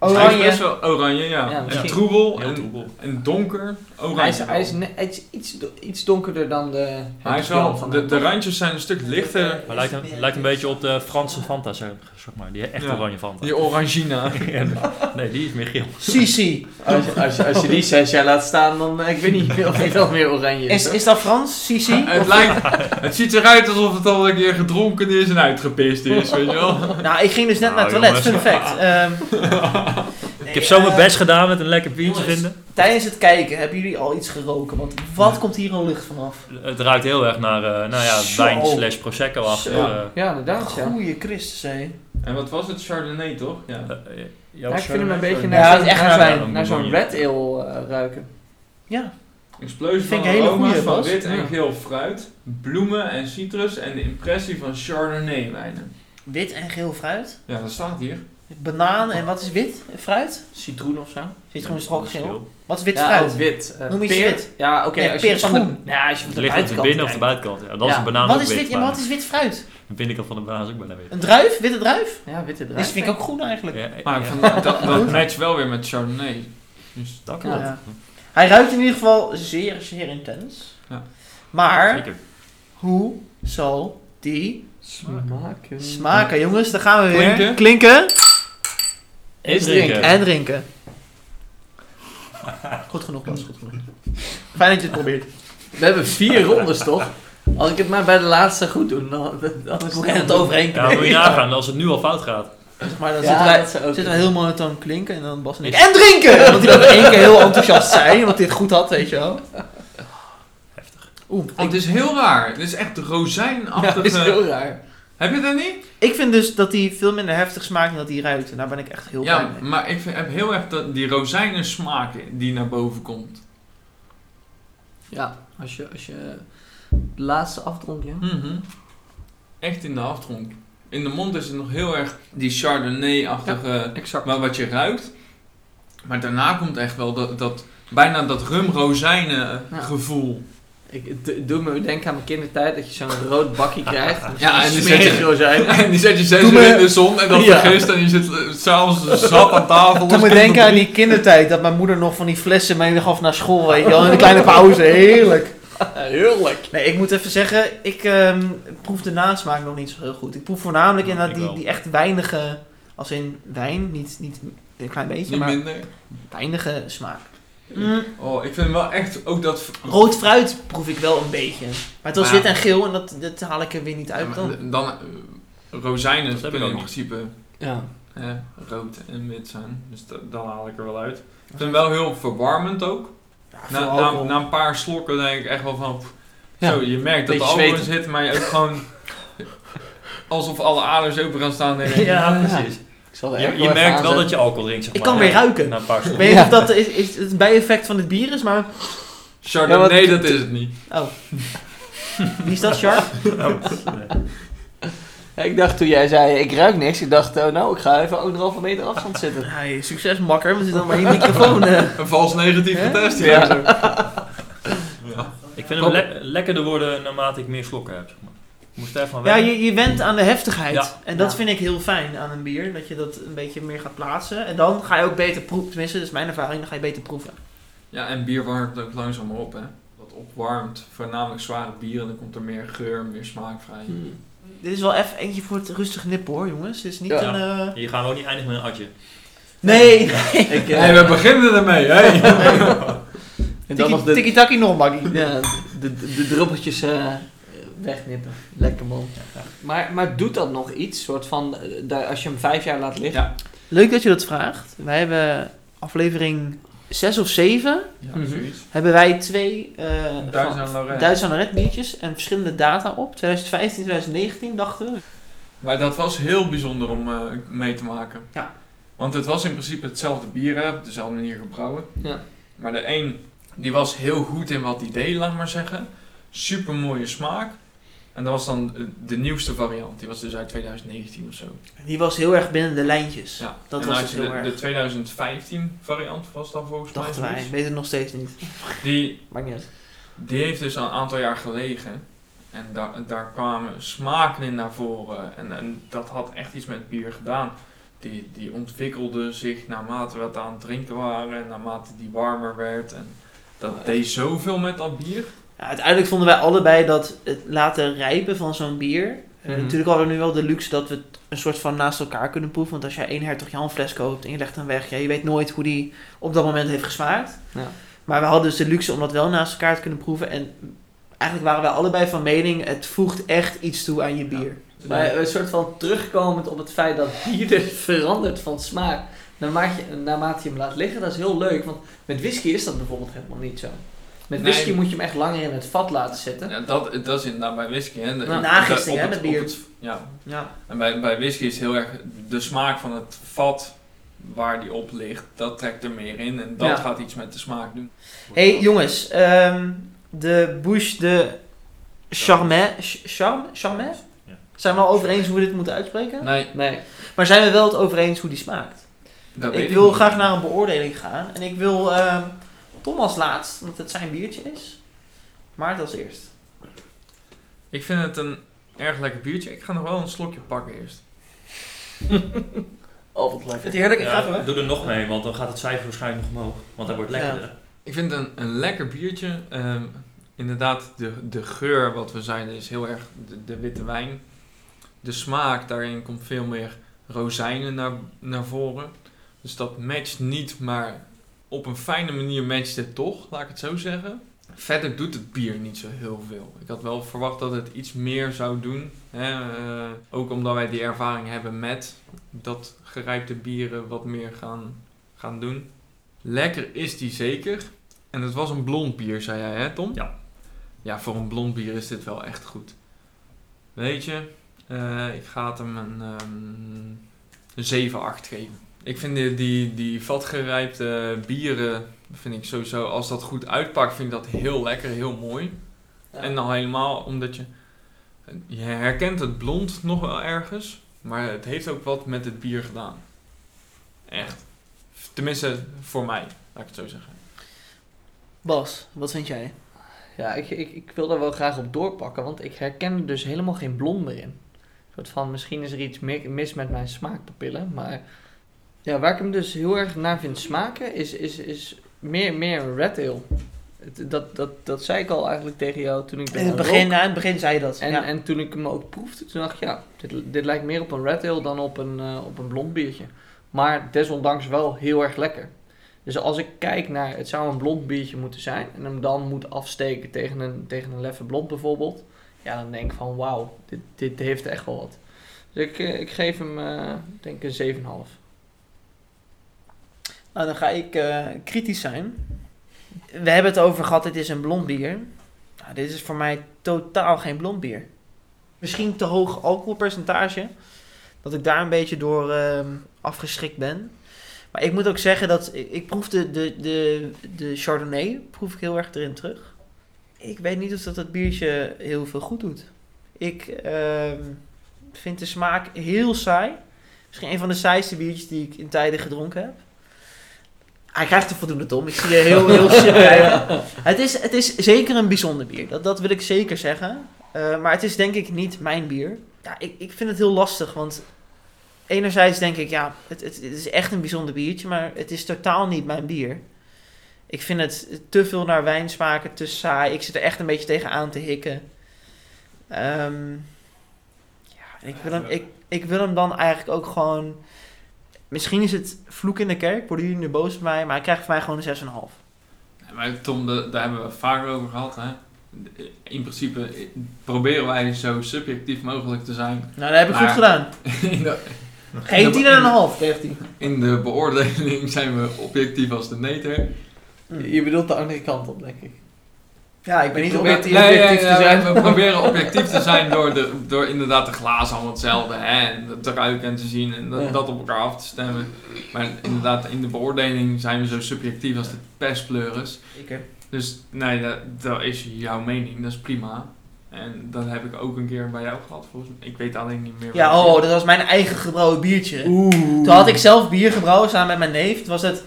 Hij is
Oranje.
best wel oranje, ja.
Ja,
en
misschien.
troebel
Heel
en,
troebel.
en donker. Oranje.
Hij is, hij is, ne- hij is iets, do- iets donkerder dan de... het
Hij is
blauw
wel,
van
de, de randjes zijn een stuk lichter.
Maar lijkt een, lijkt een beetje op de Franse Fanta, zeg zeg maar. Die echte
Ja.
oranje Fanta.
Die orangina.
Ja, nee, die is meer geel.
Sisi.
Als, je- als, je- als je die zes jaar laat staan, dan... eh, Ik weet niet of die dan meer oranje is.
Is, is dat Frans? Sisi?
Nou,
het, lijkt, het ziet eruit alsof het al een keer gedronken is en uitgepist is, weet je wel.
Nou, ik ging dus net
Nou,
naar het toilet, fun
jongens.
fact. Ehm,
Ik heb
nee,
zo mijn
eh,
best gedaan met een lekker biertje
jongens.
vinden.
Tijdens het kijken hebben jullie al iets geroken, want wat komt hier al lucht vanaf?
Het ruikt heel erg naar, eh, nou ja,
Zo.
wijn slash prosecco achter.
Zo.
eh,
Ja, inderdaad, ja.
Goeie Christus, hé.
En wat was het? Chardonnay, toch? Ja.
eh, jouw
Ja, ik vind hem een
Chardonnay,
beetje
sorry.
Ja,
naar
het
zo'n
is echt
naar
naar
zo'n-
wijn.
naar zo'n
Bonbonnier.
red ale eh, ruiken.
Ja,
Explosie
Vind
van
ik een hele
aroma's
goeie,
van
Bas.
wit en
Ja.
geel fruit, bloemen en citrus en de impressie van Chardonnay wijnen.
wit en geel fruit.
Ja, dat staat hier.
Banaan en wat is wit? Fruit? Citroen of zo? Citroen is toch ook geel? Wat is wit
ja,
fruit?
ook wit. eh,
Noem iets
peer.
wit.
Ja, oké.
Nee,
als
peer
je
is
van de,
groen.
ja, als je van
Het
de
ligt op de
buitenkant
binnen of de
kijkt.
buitenkant. Ja, dat is
Ja.
een banaan
wat,
ook
is
wit,
wit, ja,
maar
wat is wit fruit?
De binnenkant van de banaan is ook bijna wit.
Een druif? Witte druif?
Ja, witte
Dit
draad.
vind ik ook groen eigenlijk.
Ja, ja,
Maar
ja,
ik vond dat, dat matcht wel weer met Chardonnay. Dus
dat klopt.
Ja. Hij ruikt in ieder geval zeer, zeer intens.
Ja.
Maar
Zeker.
hoe zal die
Smaken.
smaken? Jongens, daar gaan we weer.
Klinken.
Is
drinken.
En drinken. Goed genoeg, Bas. Goed genoeg. Fijn dat je het probeert.
We hebben vier rondes, toch? Als ik het maar bij de laatste goed doe, dan, dan- dan is
Moet ik het overheen
Ja, moet
knippen.
je nagaan als het nu al fout gaat.
Maar dan
Ja,
zitten, wij,
dat zou ook
zitten we heel monotoon klinken en dan Bas en ik...
En drinken!
Want die dat in één keer heel enthousiast zijn, want dit goed had, weet je wel.
Heftig.
Oeh,
Oh,
ik,
het is heel raar. Het is echt
Ja, dat
rozijnachtige...
is heel raar.
Heb je dat niet?
ik vind dus dat die veel minder heftig smaakt dan dat die ruikt. En daar ben ik echt heel blij
Ja,
mee.
maar ik vind, heb heel erg dat, die rozijnensmaak die naar boven komt.
Ja, als je, als je de laatste afdronk, ja.
Mhm. Echt in de aftronk. In de mond is het nog heel erg die Chardonnay-achtige...
Exact.
Maar wat je ruikt. Maar daarna komt echt wel dat, dat bijna dat rum-rozijnen
Ja.
gevoel.
Ik, het do- doe me denken aan mijn kindertijd dat je zo'n rood bakje krijgt.
Ja, en die zet
smerig
je-
rozijn.
En die zet je zes
Doe
uur
me-
in de zon en dan
Ja.
vergist en je zit eh, s'avonds zat aan tafel.
Toen moet
Echt
denken
op-
aan die kindertijd, dat mijn moeder nog van die flessen mee gaf naar school, weet je wel. In een kleine pauze, heerlijk.
Heerlijk.
Nee, ik moet even zeggen, ik ehm, proef de nasmaak nog niet zo heel goed. Ik proef voornamelijk
Ja,
inderdaad
ik
die,
wel.
die echt weinige, als in wijn, niet, niet een klein beetje,
Niet
maar
minder.
weinige smaak. Mm,
Oh, ik vind wel echt ook dat...
Rood fruit proef ik wel een beetje. Maar het was
Maar ja.
wit en geel en dat, dat haal ik er weer niet
Ja,
uit
maar
dan.
d- dan eh, rozijnen
Dat heb ik
kunnen
ook
in
nog.
principe
Ja.
eh, rood en wit zijn. Dus da- dan haal ik er wel uit. Ik vind hem wel heel verwarmend ook.
Ja,
Na,
veel
na,
alcohol.
na een paar slokken denk ik echt wel van... pff,
Ja.
Zo, je merkt dat de
Beetje
alcohol in
zweten.
zit, maar je ook gewoon... Alsof alle aders open gaan staan. denk ik.
Ja, precies.
Ik zal
Je, je merkt wel dat je alcohol drinkt. Zeg
Ik
maar.
kan weer ruiken.
Na een paar
Ik
seconden.
weet niet
Ja.
of dat is, is het een bijeffect van het bier is, maar
Chardonnay,
Ja, wat-
dat is het niet.
Wie is dat, Sharp?
Oh, eh,
Ja, ik dacht toen jij zei, ik ruik niks. Ik dacht, oh, nou, ik ga even anderhalve meter afstand zitten.
Hey, succes, makker. We zitten maar in je microfoon. eh.
Een vals negatief
Hè?
getest. Ja.
Ja.
Ik vind hem le- lekkerder worden naarmate ik meer slokken heb. Zeg maar. Ik moest daarvan
Ja,
weg.
je, je went aan de heftigheid.
Ja.
En dat
Ja.
vind ik heel fijn aan een bier. Dat je dat een beetje meer gaat plaatsen. En dan ga je ook beter proeven. Tenminste, dat is mijn ervaring. Dan ga je beter proeven.
Ja, en bier warmt ook langzamer op, hè. Dat opwarmt, voornamelijk zware bieren, dan komt er meer geur, meer smaak vrij.
Dit is wel even eentje voor het rustig nippen hoor, jongens. Dit is niet
Ja.
een... eh,
Hier gaan we ook niet eindigen met een atje.
Nee!
Ik, eh,
Hey, we beginnen ermee, hè?
en dan nog
Tiki-
de,
Tiki-taki nog, Maggie.
ja, de, de, de druppeltjes eh, wegnippen. Lekker man. Maar, maar doet dat nog iets? Soort van, eh, daar- als je hem vijf jaar laat liggen?
Leuk dat je dat vraagt. Wij hebben aflevering 6 of 7.
Ja,
Mhm.
zoiets.
Hebben wij twee eh,
Duits
van-
en Lorraine.
Duits aan de red biertjes en verschillende data op. 2015, 2019 dachten we.
Maar dat was heel bijzonder om eh, mee te maken.
Ja.
Want het was in principe hetzelfde bier, hè, op dezelfde manier gebrouwen.
Ja.
Maar de een die was heel goed in wat hij deed, laat maar zeggen. Super mooie smaak. En dat was dan eh, de nieuwste variant. Die was dus uit 2019 of zo.
Die was heel erg binnen de lijntjes.
Ja.
Dat
en
was het
dan had je
heel
de,
erg.
de 2015 variant was dan volgens
Dachten
mij.
wij.
zoiets.
Weet het nog steeds niet.
Die,
Maakt niet uit.
Die heeft dus al een aantal jaar gelegen. En daar daar kwamen smaken in naar voren. En, en dat had echt iets met bier gedaan. Die, die ontwikkelde zich naarmate we het aan het drinken waren. En naarmate die warmer werd. En dat deed zoveel met dat bier.
Ja, uiteindelijk vonden wij allebei dat het laten rijpen van zo'n bier. eh,
Mhm.
Natuurlijk hadden we nu wel de luxe dat we het een soort van naast elkaar kunnen proeven. Want als jij één Hertog Jan fles koopt en je legt hem weg, ja, je weet nooit hoe die op dat moment heeft gesmaakt.
Ja.
Maar we hadden dus de luxe om dat wel naast elkaar te kunnen proeven. En eigenlijk waren wij allebei van mening, het voegt echt iets toe aan je bier.
Maar een soort van terugkomend op het feit dat bier er verandert van smaak naarmate je, naarmate je hem laat liggen, dat is heel leuk. Want met whisky is dat bijvoorbeeld helemaal niet zo. Met
Nee.
whisky moet je hem echt langer in het vat laten zitten.
Ja, dat, dat is inderdaad bij whisky. Hè. De-
Ja.
de-
Nagisting,
op
hè,
het-
met bier.
op het- ja.
Ja.
En bij, bij whisky is heel erg de smaak van het vat waar die op ligt. Dat trekt er meer in. En dat
Ja.
gaat iets met de smaak doen.
hey, jongens, ehm, de Bush, de Charmet, Ch- Charm, Charmet?
Ja.
Zijn we al over eens hoe we dit moeten uitspreken?
Nee,
Nee,
Maar zijn we wel het over eens hoe die smaakt?
dat weet
Ik wil
niet.
graag naar een beoordeling gaan. En ik wil ehm, Tom als laatst, omdat het zijn biertje is. Maarten als eerst.
Ik vind het een erg lekker biertje. Ik ga nog wel een slokje pakken eerst.
oh wat lekker.
Vindt het heerlijk? Ik ga
Ja,
even weg.
doe er nog mee, want dan gaat het cijfer waarschijnlijk nog omhoog. Want hij wordt
Ja.
lekkerder. hè?
Ik vind het een, een lekker biertje. Ehm, inderdaad, de, de geur, wat we zeiden, is heel erg de, de witte wijn. De smaak, daarin komt veel meer rozijnen naar, naar voren. Dus dat matcht niet, maar op een fijne manier matcht het toch, laat ik het zo zeggen. Verder doet het bier niet zo heel veel. Ik had wel verwacht dat het iets meer zou doen. Hè? eh, ook omdat wij die ervaring hebben met dat gerijpte bieren wat meer gaan, gaan doen. Lekker is die zeker. En het was een blond bier, zei jij, hè, Tom?
Ja.
Ja, voor een blond bier is dit wel echt goed. Weet je, eh, ik ga het hem een, ehm, een 7-8 geven. Ik vind die, die, die vatgerijpte bieren, vind ik sowieso, als dat goed uitpakt, vind ik dat heel lekker, heel mooi.
Ja.
En dan helemaal omdat je, je herkent het blond nog wel ergens, maar het heeft ook wat met het bier gedaan. Echt. Tenminste, voor mij, laat ik het zo zeggen.
Bas, wat vind jij?
Ja, ik, ik, ik wil daar wel graag op doorpakken, want ik herken er dus helemaal geen blond meer in. Een soort van, misschien is er iets mi- mis met mijn smaakpapillen, maar... Ja, waar ik hem dus heel erg naar vind smaken, is, is, is meer, meer een red ale. Het- Dat, dat, dat zei ik al eigenlijk tegen jou toen ik
In het
eraan
begin,
rook.
ja, in het begin zei je dat.
En,
ja.
en toen ik hem ook proefde, toen dacht ik, ja, dit, dit lijkt meer op een red ale dan op een, eh, op een blond biertje. Maar desondanks wel heel erg lekker. Dus als ik kijk naar, het zou een blond biertje moeten zijn, en hem dan moet afsteken tegen een, tegen een leffe blond bijvoorbeeld. Ja, dan denk ik van, wauw, dit, dit heeft echt wel wat. Dus ik, eh, ik geef hem, eh, denk ik, een 7,5.
Nou, dan ga ik eh, kritisch zijn. We hebben het over gehad, het is een blond bier. Nou, dit is voor mij totaal geen blond bier. Misschien te hoog alcoholpercentage. Dat ik daar een beetje door ehm, afgeschrikt ben. Maar ik moet ook zeggen dat ik, ik proef de, de, de, de Chardonnay proef ik heel erg erin terug. Ik weet niet of dat, dat biertje heel veel goed doet. Ik ehm, vind de smaak heel saai. Misschien een van de saaiste biertjes die ik in tijden gedronken heb. Hij krijgt er voldoende Tom. Ik zie je heel, heel sip kijken. Het is, het is zeker een bijzonder bier. Dat, dat wil ik zeker zeggen. Eh, maar het is denk ik niet mijn bier. Ja, ik, ik vind het heel lastig. Want enerzijds denk ik, ja, het, het, het is echt een bijzonder biertje. Maar het is totaal niet mijn bier. Ik vind het te veel naar wijn smaken, te saai. Ik zit er echt een beetje tegen aan te hikken. Ehm, ja, ik, wil hem, ik, ik wil hem dan eigenlijk ook gewoon... Misschien is het vloek in de kerk, worden jullie nu boos op mij, maar hij krijgt van mij gewoon een 6,5.
Ja, Maar Tom, da- daar hebben we vaker over gehad. Hè? In principe proberen wij zo subjectief mogelijk te zijn
Nou, dat heb ik
Maar-
goed gedaan.
in de,
Geen 10,5 kreeg hij.
in de beoordeling zijn we objectief als de meter.
Je bedoelt de andere kant op, denk ik.
Ja, ik ben niet
Probeer-
objectief,
nee,
objectief
ja, ja,
te
ja,
zijn.
We proberen objectief te zijn door, de, door inderdaad de glazen allemaal hetzelfde hè, en te ruiken en te zien en dat,
Ja.
dat op elkaar af te stemmen. Maar inderdaad, in de beoordeling zijn we zo subjectief als de perspleuris.
Ik heb-
Dus nee, dat, dat is jouw mening, dat is prima. En dat heb ik ook een keer bij jou gehad, volgens mij. Ik weet alleen niet meer.
Ja,
welke.
oh, dat was mijn eigen gebrouwen biertje.
Oeh.
Toen had ik zelf bier gebrouwen samen met mijn neef. Toen was het,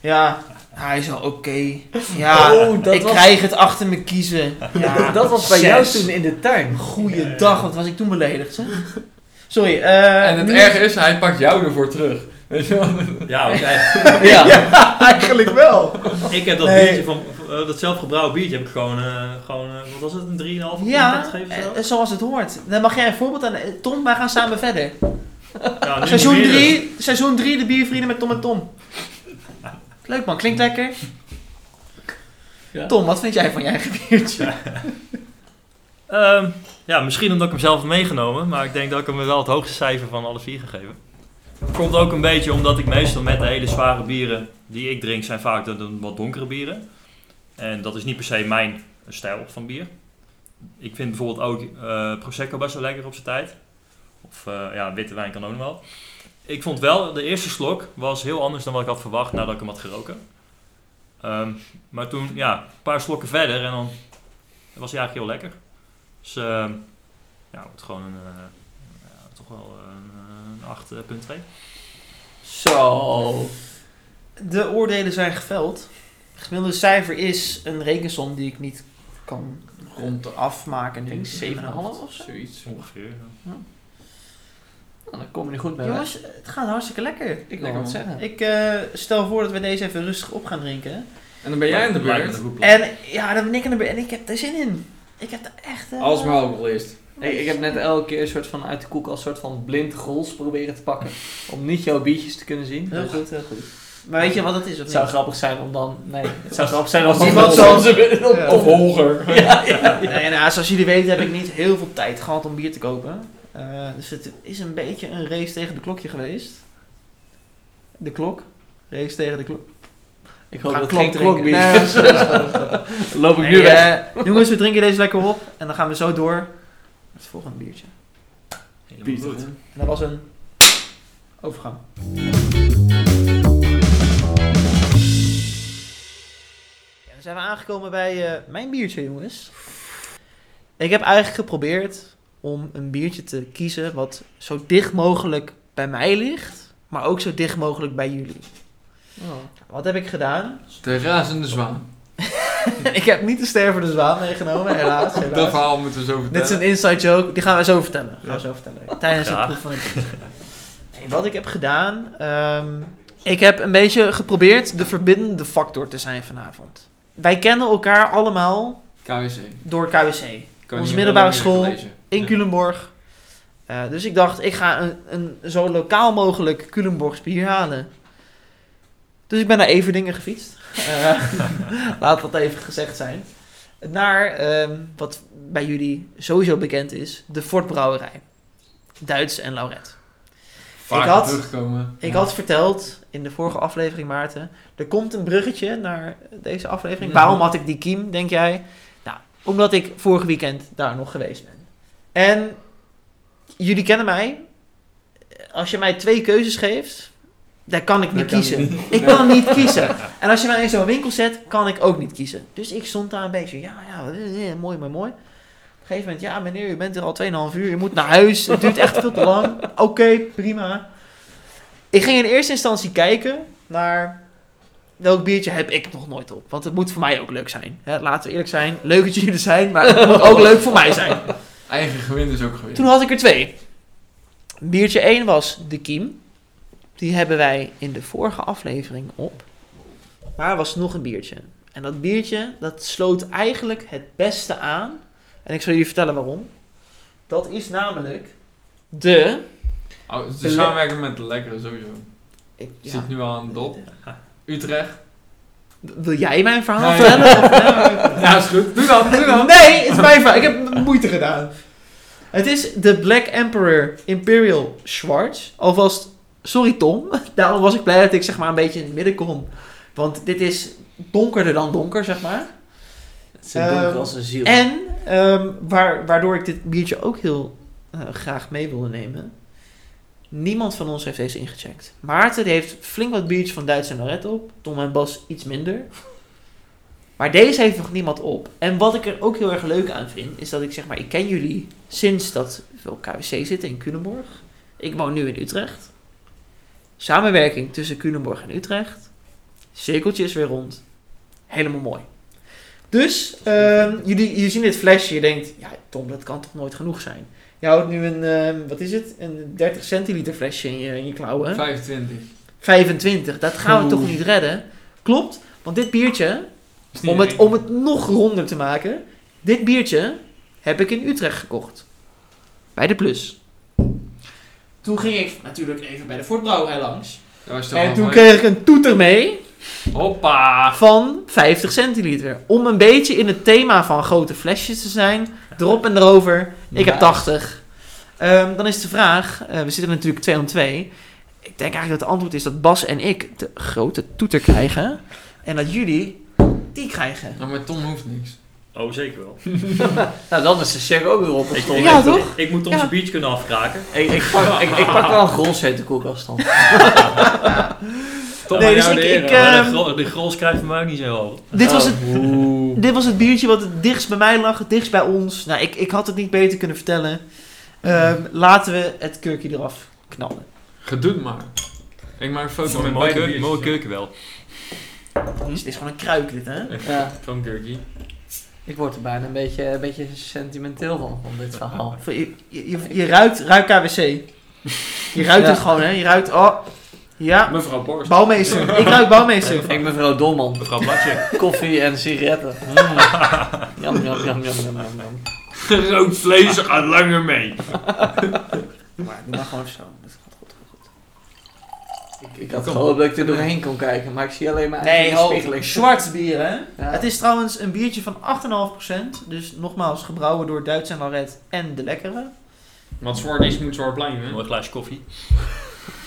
ja, hij is wel oké. Ja,
Oh, dat
ik
was-
krijg het achter me kiezen. Ja,
dat was bij jou
zes.
toen in de tuin.
Goeiedag, wat was ik toen beledigd, zeg. Sorry, eh,
En het erge is, hij pakt jou ervoor terug. Weet je wel?
Ja, want jij-
Ja. eigenlijk wel.
ik heb dat
Nee.
biertje van, eh, dat zelfgebrouwen biertje heb ik gewoon, eh, gewoon eh, wat was het, een 3,5 op
Ja,
gegeven
eh,
zo?
zoals het hoort. Dan mag jij een voorbeeld aan... eh, Tom, wij gaan samen verder.
Ja, nu
Eh, Seizoen
niet meer,
3, seizoen 3, de biervrienden met Tom en Tom. Leuk man, klinkt lekker.
Ja.
Tom, wat vind jij van je eigen biertje?
Ehm, ja, misschien omdat ik hem zelf heb meegenomen, maar ik denk dat ik hem wel het hoogste cijfer van alle vier gegeven. Komt ook een beetje omdat ik meestal met de hele zware bieren die ik drink, zijn vaak de, de wat donkere bieren. En dat is niet per se mijn stijl van bier. Ik vind bijvoorbeeld ook eh, Prosecco best wel lekker op zijn tijd. Of eh, ja, witte wijn kan ook nog wel. Ik vond wel, de eerste slok was heel anders dan wat ik had verwacht nadat ik hem had geroken. Ehm, maar toen, ja, een paar slokken verder en dan was hij eigenlijk heel lekker. Dus ehm, ja, wordt gewoon een, eh, ja, toch wel een, eh, een 8.2.
Zo. De oordelen zijn geveld. Het gemiddelde cijfer is een rekensom die ik niet kan
Rond
afmaken.
Ik
Ik denk
denk
7,5 of zo.
zoiets.
Ongeveer.
Nou, dan kom je er goed bij.
Jongens, het gaat hartstikke lekker.
Ik wil wat zeggen.
Ik eh, stel voor dat we deze even rustig op gaan drinken.
En dan ben jij aan de
Lijkt me
beurt.
een goed plan.
En ja, dan ben ik aan de beurt. En ik heb er zin in. Ik heb er echt... eh,
Als maar ook al eerst.
Nee, ik heb net elke keer een soort van uit de koek als soort van blind goals proberen te pakken. Om niet jouw biertjes te kunnen zien.
Heel
Dus
goed, heel goed. Maar weet je wat het is of
Het
niet?
zou grappig zijn om dan. Nee, het zou grappig zijn als
Als
iemand zoals.
iemand zoals- Ja.
Of hoger.
Nee, nou, zoals jullie weten heb ik niet heel veel tijd gehad om bier te kopen. Eh, dus het is een beetje een race tegen de klokje geweest. De klok. Race tegen de klok.
Ik hoop
Ga
dat het
klok
geen
drinken.
klokbier
Nee,
is. Loop ik nu
Nee,
weg.
eh, jongens, we drinken deze lekker op. En dan gaan we zo door naar het volgende biertje.
Helemaal goed.
En dat was een overgang. Ja, dan zijn we aangekomen bij eh, mijn biertje, jongens. Ik heb eigenlijk geprobeerd om een biertje te kiezen wat zo dicht mogelijk bij mij ligt, maar ook zo dicht mogelijk bij jullie.
Oh.
Wat heb ik gedaan?
De razende zwaan.
ik heb niet de stervende zwaan meegenomen, helaas.
Dat
helaas.
verhaal moeten we zo vertellen.
Dit is een inside joke, die gaan we zo vertellen. Gaan we zo vertellen. Tijdens het
Graag.
proef van het Nee, Wat ik heb gedaan, ehm, ik heb een beetje geprobeerd de verbindende factor te zijn vanavond. Wij kennen elkaar allemaal
KWC.
door KWC
Kan
Onze
je
middelbare
wel
school.
lezen.
in
Ja.
Culemborg. Eh, dus ik dacht, ik ga een, een zo lokaal mogelijk Culemborgs bier halen. Dus ik ben naar Everdingen gefietst. Eh, laat dat even gezegd zijn. Naar ehm, wat bij jullie sowieso bekend is, de Fortbrouwerij. Duits en Lauret.
Vaak
Ik had-
terugkomen.
Ik had verteld in de vorige aflevering, Maarten, er komt een bruggetje naar deze aflevering.
Mhm.
Waarom had ik die kiem, denk jij? Nou, omdat ik vorig weekend daar nog geweest ben. En jullie kennen mij. Als je mij twee keuzes geeft, Daar kan ik niet
Daar kan
kiezen. Ik kan niet kiezen. En als je mij in zo'n winkel zet, kan ik ook niet kiezen. Dus ik stond daar een beetje, ja, ja, eh, eh, mooi, mooi, mooi. Op een gegeven moment, ja meneer, u bent er al 2,5 uur, je moet naar huis, het duurt echt veel te lang. Oké, prima. Ik ging in eerste instantie kijken naar welk biertje heb ik nog nooit op. Want het moet voor mij ook leuk zijn. Hè, laten we eerlijk zijn, leuk dat jullie er zijn, maar het moet ook leuk voor mij zijn.
Eigen gewin is ook gewin.
Toen had ik er twee. Biertje 1 was de kiem. Die hebben wij in de vorige aflevering op. Maar er was nog een biertje. En dat biertje, dat sloot eigenlijk het beste aan. En ik zal jullie vertellen waarom. Dat is namelijk de...
Oh, het is
Le-
de samenwerking met de lekkere sowieso.
Ik,
Je Zit nu al aan het dop. Utrecht.
Wil jij mijn verhaal
Nee. Nou,
vertellen? nou?
Ja, is goed. Doe dat, doe dat.
Nee, het is mijn fout. Ik heb moeite gedaan. Het is de Black Emperor Imperial Schwarz. Alvast, sorry Tom. Daarom was ik blij dat ik zeg maar een beetje in het midden kon. Want dit is donkerder dan donker, zeg maar.
Het is een donker
Ehm,
als een ziel.
En ehm, waar, waardoor ik dit biertje ook heel eh, graag mee wilde nemen. Niemand van ons heeft deze ingecheckt. Maarten die heeft flink wat biertjes van Duits en Lorette op. Tom en Bas iets minder. Maar deze heeft nog niemand op. En wat ik er ook heel erg leuk aan vind, is dat ik zeg maar, ik ken jullie sinds dat we op KWC zitten in Culemborg. Ik woon nu in Utrecht. Samenwerking tussen Culemborg en Utrecht. Cirkeltje is weer rond. Helemaal mooi. Dus, ehm, jullie, jullie zien dit flesje, je denkt, ja Tom, dat kan toch nooit genoeg zijn. Je houdt nu een, ehm, wat is het, een 30 centiliter flesje in je, in je klauwen.
25.
25, dat gaan we toch niet redden? Klopt, want dit biertje,
Is niet
om het,
iedereen.
om het nog ronder te maken, dit biertje heb ik in Utrecht gekocht. Bij de Plus. Toen ging ik natuurlijk even bij de Voortbrouwerij langs.
Dat was toch
En
wel
toen
mooi.
kreeg ik een toeter mee
Hoppa.
van 50 centiliter. Om een beetje in het thema van grote flesjes te zijn, erop en erover. Ik heb
Nice.
80. Ehm, dan is de vraag, eh, we zitten natuurlijk 2 om 2. Ik denk eigenlijk dat het antwoord is dat Bas en ik de grote toeter krijgen. En dat jullie die krijgen.
Nou, maar Tom hoeft niks.
Oh, zeker wel.
Nou, dan is de check ook weer op.
Ik,
Ik,
Ja,
ik-
toch?
Ik moet onze
Ja.
beach kunnen afkraken.
ik, ik, pak, ik, ik pak wel een gros uit de koelkast dan.
Tom,
Nee,
aan
dus
jou
ik-
de eer.
ik,
Maar
eh,
de, gro de grols krijgt van mij ook niet zo hoog.
Dit was, het,
Oeh.
dit was het biertje wat het dichtst bij mij lag, het dichtst bij ons. Nou, ik, ik had het niet beter kunnen vertellen. Ehm, laten we het kurkje eraf knallen.
Gedoe maar. Ik maak een foto met
Mooie
mijn
keuken,
biertjes.
mooie keuken wel.
Dus het is gewoon een kruik dit, hè?
Ja,
Gewoon Kurkie.
ik word er bijna een beetje, een beetje sentimenteel van, van dit verhaal.
Je, je, je- je ruikt, ruikt KWC. Je ruikt
Ja.
het gewoon, hè? Je ruikt, oh, ja,
Mevrouw Borst.
bouwmeester. Ik ruik bouwmeester.
Ik ben mevrouw Dolman.
Mevrouw Blatje.
Koffie en sigaretten. Mm. Jam, jam, jam, jam, jam, jam, jam.
Rood vlees gaat langer mee.
Maar doe maar gewoon zo. Dat gaat goed.
Ik, ik had gehoopt dat ik er doorheen kon kijken, maar ik zie alleen maar
Nee,
eigen
ho,
spiegeling.
zwart bier, hè?
Ja.
Het is trouwens een biertje van 8,5%. Dus nogmaals, gebrouwen door Duits en Laret en de Lekkere.
Wat zwart is, moet zwart blijven.
Mooi glaasje koffie.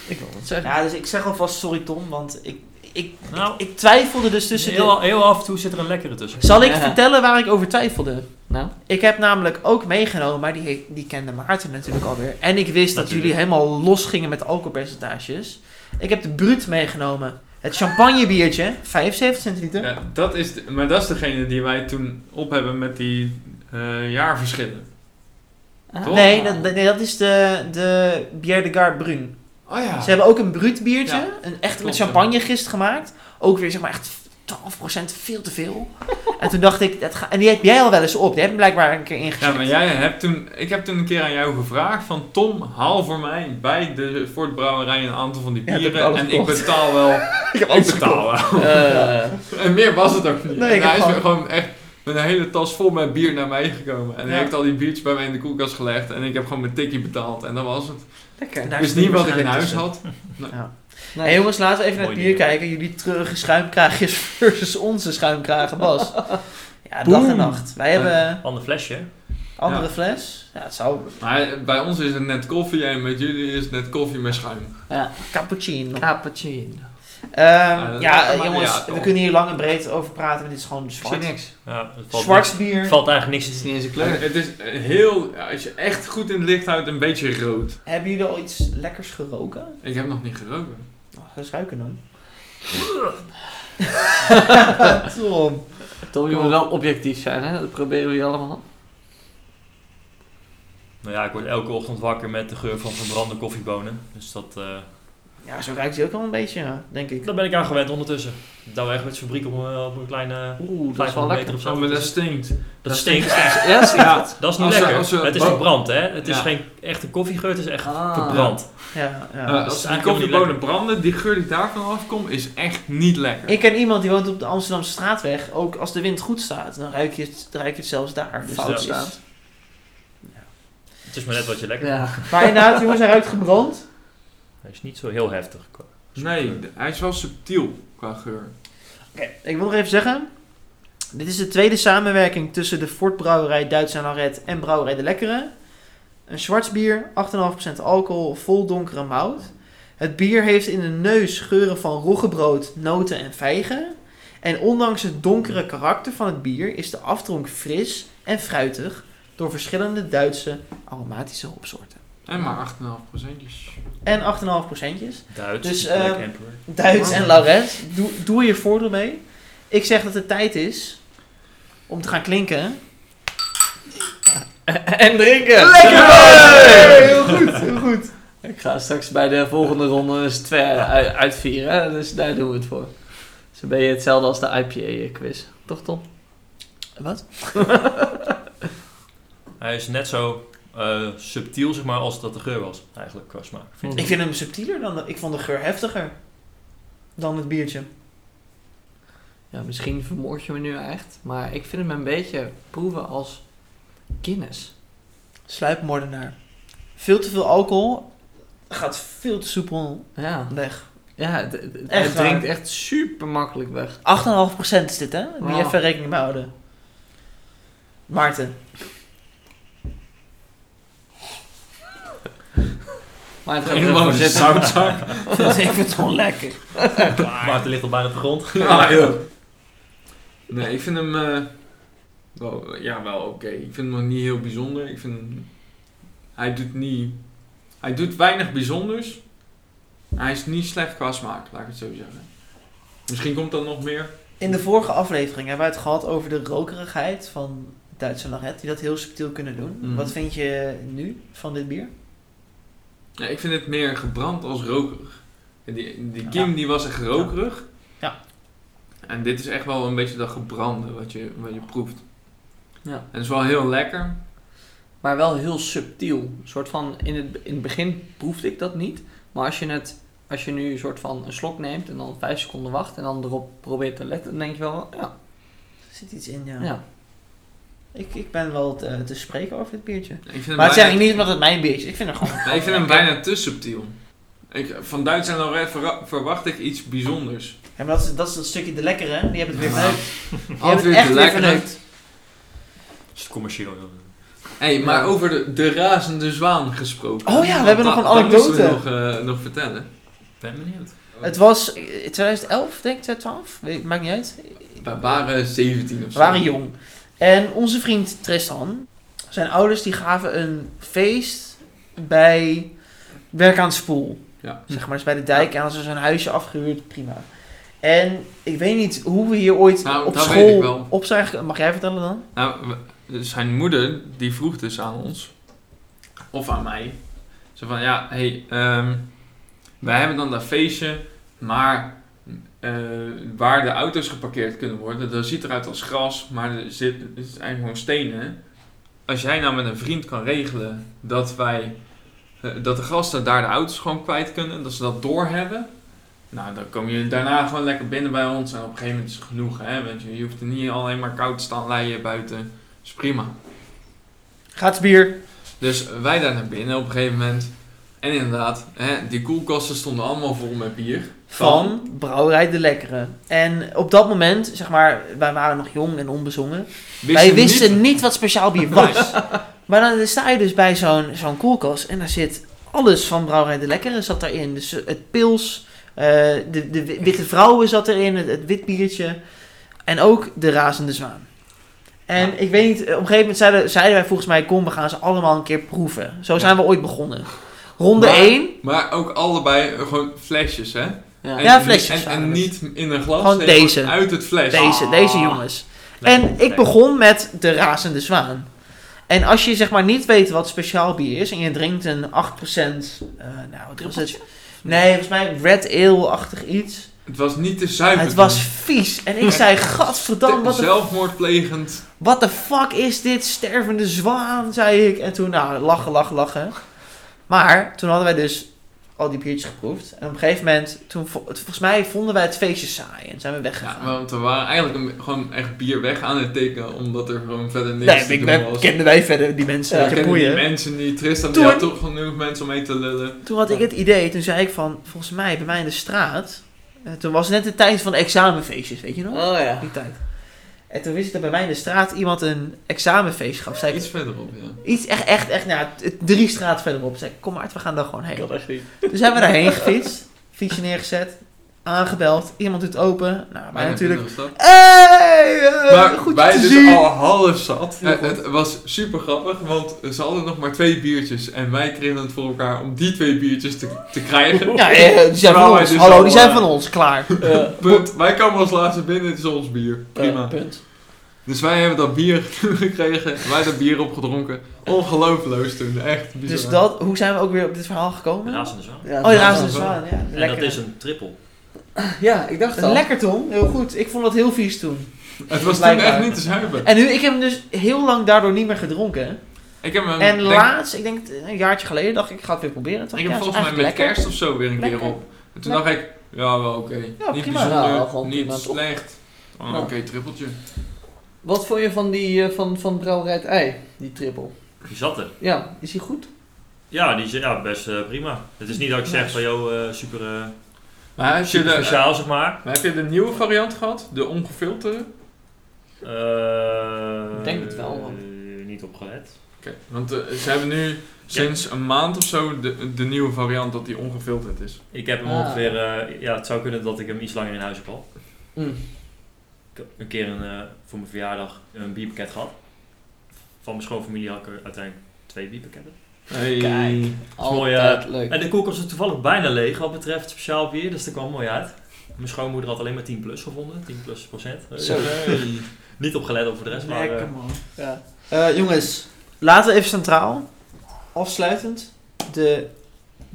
Ik wil het zeggen.
Ja, dus ik zeg alvast sorry Tom, want ik, ik,
Nou,
ik twijfelde dus tussen... de-
heel, heel af en toe zit er een lekkere tussen.
Zal ik
Ja.
vertellen waar ik over twijfelde?
Nou,
Ik heb namelijk ook meegenomen, maar die, he- die kende Maarten natuurlijk alweer. En ik wist dat
Natuurlijk.
jullie helemaal los gingen met alcoholpercentages. Ik heb de Brut meegenomen. Het champagnebiertje, 75 centiliter.
Ja, dat is de- maar dat is degene die wij toen op hebben met die eh, jaarverschillen.
ah.
Toch?
nee, dat, nee, dat is de, de Bière de Garde Brun.
Oh ja.
Ze hebben ook een Brut biertje,
Ja,
een echt met
klopt,
champagne gist gemaakt. Ook weer zeg maar echt 12% veel te veel. en toen dacht ik, dat ga, en die heb jij al wel eens op. Die heb je blijkbaar een keer ingezet.
Ja, maar jij hebt toen, ik heb toen een keer aan jou gevraagd van Tom, haal voor mij bij de Voortbrouwerij een aantal van die
Ja, dat heb
bieren
ik alles
en ik
gekocht.
betaal wel.
ik heb
ik betaal wel.
Eh,
En meer was het ook niet.
Nee, ik
En hij
heb
is
gewoon-
gewoon echt met een hele tas vol met bier naar mij gekomen. En hij
Ja.
heeft al die biertjes bij mij in de koelkast gelegd en ik heb gewoon mijn tikje betaald en dat was het.
Lekker.
Daar
dus
zit hij
niet wat ik in
waarschijnlijk
huis
tussen.
had.
Nee.
Hey jongens, laten we even naar het
Mooi
bier
idee.
kijken. Jullie treurige schuimkraagjes versus onze schuimkragen, Bas. Ja, dag en
Boem.
nacht. Wij hebben
Ander flesje. hè?
andere
Ja.
fles. Ja, het zou
Maar bij ons is het net koffie en met jullie is het net koffie met schuim.
cappuccino.
Cappuccino.
Ehm,
dat
ja,
kan
eh,
maar,
jongens,
ja,
we
toch.
kunnen hier lang en breed over praten, maar dit is gewoon
Ik zie
zwart.
niks.
Ja, het valt
Zwart
niks-
bier.
valt eigenlijk
Het
niks
is
in.
niet eens een kleur.
Het is heel, ja, als je echt goed in het licht houdt, een beetje rood.
Hebben jullie al iets lekkers geroken?
Ik heb nog niet geroken.
Oh, ga eens ruiken dan. Tom.
Tom, je moet wel objectief zijn, hè? Dat proberen we hier allemaal.
Nou ja, ik word elke ochtend wakker met de geur van verbrande koffiebonen. Dus dat, eh,
Ja, zo ruikt hij ook al een beetje, ja, denk ik.
daar ben ik aan gewend ondertussen. Daar we echt met de fabriek om, eh, op een kleine
Oeh, dat is wel
500
lekker.
meter of zo.
Oh, maar dat stinkt.
dat stinkt.
Ja, zie je
Ja.
dat?
Dat is niet
Als we-
lekker.
als we-
het is
bo-
verbrand, hè? Het is
Ja.
geen echte koffiegeur, het is echt
Ah.
verbrand.
Ja, ja.
Eh,
dat is
als die
eigenlijk helemaal niet
koffiebonen branden, die geur die daarvan afkomt, is echt niet lekker.
Ik ken iemand die woont op de Amsterdamse straatweg. Ook als de wind goed staat, dan ruik je het, dan ruik je het zelfs daar. Dus
Fout
dat is-
staat.
Het is maar net wat je lekker
Ja.
Maar inderdaad, jongens, hij ruikt gebrand.
Hij is niet zo heel heftig.
Nee, d- hij is wel subtiel qua geur.
Oké, ik wil nog even zeggen. Dit is de tweede samenwerking tussen de Fortbrouwerij Duits en Laret en Brouwerij de Lekkere. Een zwarts bier, 8,5% alcohol, vol donkere mout. Het bier heeft in de neus geuren van roggebrood, noten en vijgen. En ondanks het donkere karakter van het bier is de aftronk fris en fruitig door verschillende Duitse aromatische hopsoorten.
En maar 8,5 procentjes.
En 8,5 procentjes.
Duits,
Dus,
Black
ehm,
Emperor.
Duits en Lauret, doe, doe je voordeel mee. Ik zeg dat het tijd is om te gaan klinken.
En drinken!
Hey, Heel goed, heel goed.
Ik ga straks bij de volgende ronde eens twee u- uitvieren, hè, dus daar doen we het voor. Zo ben je hetzelfde als de IPA-quiz, toch Tom?
Wat?
Hij is net zo eh, subtiel, zeg maar, als dat de geur was. Eigenlijk, qua smaak. vind
Ik vind hem subtieler dan... de- ik vond de geur heftiger dan het biertje.
Ja, misschien vermoord je me nu echt, maar ik vind hem een beetje proeven als Guinness.
Sluipmoordenaar. Veel te veel alcohol gaat veel te soepel
Ja,
weg. 8,5%
ja het, het- het-
Echt
het drinkt
waar.
echt super makkelijk weg.
is dit, hè? Moet je
Oh.
even rekening mee houden. Maarten.
Maar het gaat er
Helemaal Ah,
gewoon
een
zitten.
zoutzak.
dat is even toch lekker.
ik. Maarten ligt al bijna op de grond.
Ah, joh. Nee, ik vind hem eh, wel, ja, wel oké. Ik vind hem nog niet heel bijzonder. Ik vind hem- hij doet niet, hij doet weinig bijzonders. Hij is niet slecht qua smaak, laat ik het zo zeggen. Misschien komt dat nog meer.
In de vorige aflevering hebben we het gehad over de rokerigheid van Duitse Laret. Die dat heel subtiel kunnen doen.
Mhm.
Wat vind je nu van dit bier?
Ja, ik vind het meer gebrand als rokerig. En Die, die Kim
Ja.
die was echt rokerig.
Ja.
En dit is echt wel een beetje dat gebrande wat je, wat je proeft.
Ja.
En het is wel heel lekker.
Maar wel heel subtiel. Een soort van, in het, in het begin proefde ik dat niet. Maar als je, het, als je nu een soort van een slok neemt en dan vijf seconden wacht en dan erop probeert te letten, dan denk je wel, oh, ja,
Er zit iets in, ja.
ja.
Ik, ik ben wel te, te spreken over dit biertje.
Ik vind hem
Maar het
bijna-
zeg ik niet omdat het mijn biertje is. Ik vind het gewoon...
Nee, ik vind hem bijna te subtiel. Ik, van Duits en Lauret verra- verwacht ik iets bijzonders.
Ja, maar dat is, dat is dat stukje de lekkere. hè? Die hebben het weer verneukt. Die hebben
Altijd
het echt weer
lekker.
verneukt.
Is het commercieel? joh.
Hey, maar
Ja.
over de, de razende zwaan gesproken.
Oh ja, we hebben nog
Da-
een
dat moesten we
anekdote.
nog, eh, nog vertellen.
Ben benieuwd.
Het was eh, 2011, denk ik, 2012. Weet- Maakt niet uit.
We waren 17 of
We
zo.
waren jong. En onze vriend Tristan, zijn ouders die gaven een feest bij Werk aan het Spoel.
Ja.
Zeg maar, dus bij de dijk. En hadden ze zo'n huisje afgehuurd, prima. En ik weet niet hoe we hier ooit
Nou,
op
dat weet ik wel.
school op zijn gekomen. Mag jij vertellen dan?
Nou, we- zijn moeder die vroeg dus aan ons, of aan mij, zo van ja, hey, ehm, wij hebben dan dat feestje, maar eh, waar de auto's geparkeerd kunnen worden, dat ziet eruit als gras, maar er zit, het is eigenlijk gewoon stenen. Als jij nou met een vriend kan regelen dat wij, eh, dat de gasten daar de auto's gewoon kwijt kunnen, dat ze dat doorhebben. Nou, dan kom je daarna gewoon lekker binnen bij ons. En op een gegeven moment is het genoeg, hè. Want je, je hoeft er niet alleen maar koud te staan leien buiten. Dat is prima.
Gaat bier.
Dus wij daar naar binnen op een gegeven moment. En inderdaad, hè, die koelkasten stonden allemaal vol met bier.
Van Brouwerij de Lekkere. En op dat moment, zeg maar, wij waren nog jong en onbezongen. Wij wisten niet wat speciaal bier was. maar dan sta je dus bij zo'n zo'n koelkast en daar zit alles van Brouwerij de Lekkere zat daarin. Dus het pils, eh, de, de wi- witte vrouwen zat erin, het, het wit biertje. En ook de razende zwaan. En ik weet niet, op een gegeven moment zeiden, zeiden wij volgens mij, kom we gaan ze allemaal een keer proeven. Zo zijn we ooit begonnen.
Ronde
Maar-
1.
Maar ook allebei eh, gewoon flesjes, hè?
Ja.
En-
Ja, flesjes
En, en
waren het.
niet in een glas,
Gewoon
nee,
deze.
uit het fles.
Deze,
Ah.
deze jongens.
Lekker,
En ik
lekker.
begon met de razende zwaan. En als je zeg maar niet weet wat speciaal bier is en je drinkt een 8%, eh, nou wat was het? Nee, volgens mij red ale-achtig iets.
Het was niet te zuiver.
Het was vies. En ik zei, gadverdamme, wat de,
Zelfmoordplegend.
what the fuck is dit? Stervende zwaan, zei ik. En toen, nou, lachen, lachen, lachen. Maar toen hadden wij dus al die biertjes geproefd. En op een gegeven moment, toen, vo- het- volgens mij vonden wij het feestje saai en zijn we weggegaan.
Ja, want we waren eigenlijk een- gewoon echt bier weg aan het tikken, omdat er gewoon verder niks
Nee,
te
ik
doen
ben,
was.
kenden wij verder die mensen
Ja,
ja,
ik ken die
boeien.
mensen niet. Tristan
Toen-
die had toch genoeg mensen om mee te lullen.
Toen had ik het idee, toen zei ik van, volgens mij bij mij in de straat. eh, toen was net de tijd van examenfeestjes, weet je nog?
Oh ja.
Die tijd. En toen wist ik dat bij mij in de straat iemand een examenfeest gaf. Zei ik,
Iets verderop, ja.
iets echt, echt, echt, nou, ja, t- drie straat verderop. Zei ik, kom maar, we gaan daar gewoon
Ik
heen.
had echt niet.
Toen zijn we daarheen gefietst, fietsje neergezet, aangebeld, iemand doet open. Nou, wij
Bijna
natuurlijk,
binnenstad.
hey, eh,
Maar
goed je
wij
te
dus
zien.
al half zat.
Heel
Eh,
goed.
het was super grappig, want ze hadden nog maar twee biertjes. En wij kregen het voor elkaar om die twee biertjes te, te krijgen.
Ja, eh, die zijn van
Terwijl wij
ons,
dus
hallo,
al,
die zijn
eh,
van ons, klaar.
Ja.
Punt. Wij komen als laatste binnen, het is ons bier. Prima.
Eh, punt.
Dus wij hebben dat bier gekregen, wij dat bier opgedronken. Ongelooflijk toen, echt bizar.
Dus dat, hoe zijn we ook weer op dit verhaal gekomen?
Razende zwaan.
Ja, dus-
Oh, de
Ja,
razende
wel.
zwaan, ja.
En
Lekker.
dat is een triple.
Ja, ik dacht al.
Lekker Tom, heel goed. Ik vond dat heel vies toen.
Het was toen
Blijkbaar.
echt niet te zuipen.
En nu, ik heb hem dus heel lang daardoor niet meer gedronken.
Oh, Ik heb hem,
en
denk-
laatst, ik denk eh, een jaartje geleden, dacht ik, ik ga het weer proberen. Toen
ik heb
dacht
volgens
ja,
mij
is
met
eigenlijk
kerst of zo weer een
Lekker.
keer op. En toen dacht ik, ja wel oké. niet
prima.
bijzonder,
Ja, gewoon
niet
prima, toch?
slecht. Oh,
Ja.
Oké, trippeltje.
Wat vond je van die eh, van, van Brouwerij het Ei, die triple?
Die zat er.
Ja, is die goed?
Ja, die is ja, best eh, prima. Het is niet dat ik zeg van, joh, eh, super, eh,
Maar heb, je
super
de,
speciaal, zeg maar.
maar heb je de nieuwe variant gehad? De ongefilterde?
Eh,
Ik denk het wel, man.
eh, niet opgelet.
Oké, want eh, ze hebben nu sinds een maand of zo de, de nieuwe variant dat die ongefilterd is.
Ik heb hem
Ah.
ongeveer... eh, ja, het zou kunnen dat ik hem iets langer in huis heb al.
Mm.
Ik heb een keer een, eh, voor mijn verjaardag een bierpakket gehad. Van mijn schoonfamilie had ik er uiteindelijk twee bierpakketten.
Hey.
Kijk.
mooi,
Altijd leuk.
En de koelkast was toevallig bijna leeg wat betreft speciaal bier, dus dat kwam mooi uit. Mijn schoonmoeder had alleen maar 10 plus gevonden, 10 plus procent. Eh,
Zo.
Hey.
Niet opgelet op voor de rest, maar... eh,
Lekker man.
Ja. Eh, jongens,
Laten we even centraal, afsluitend, de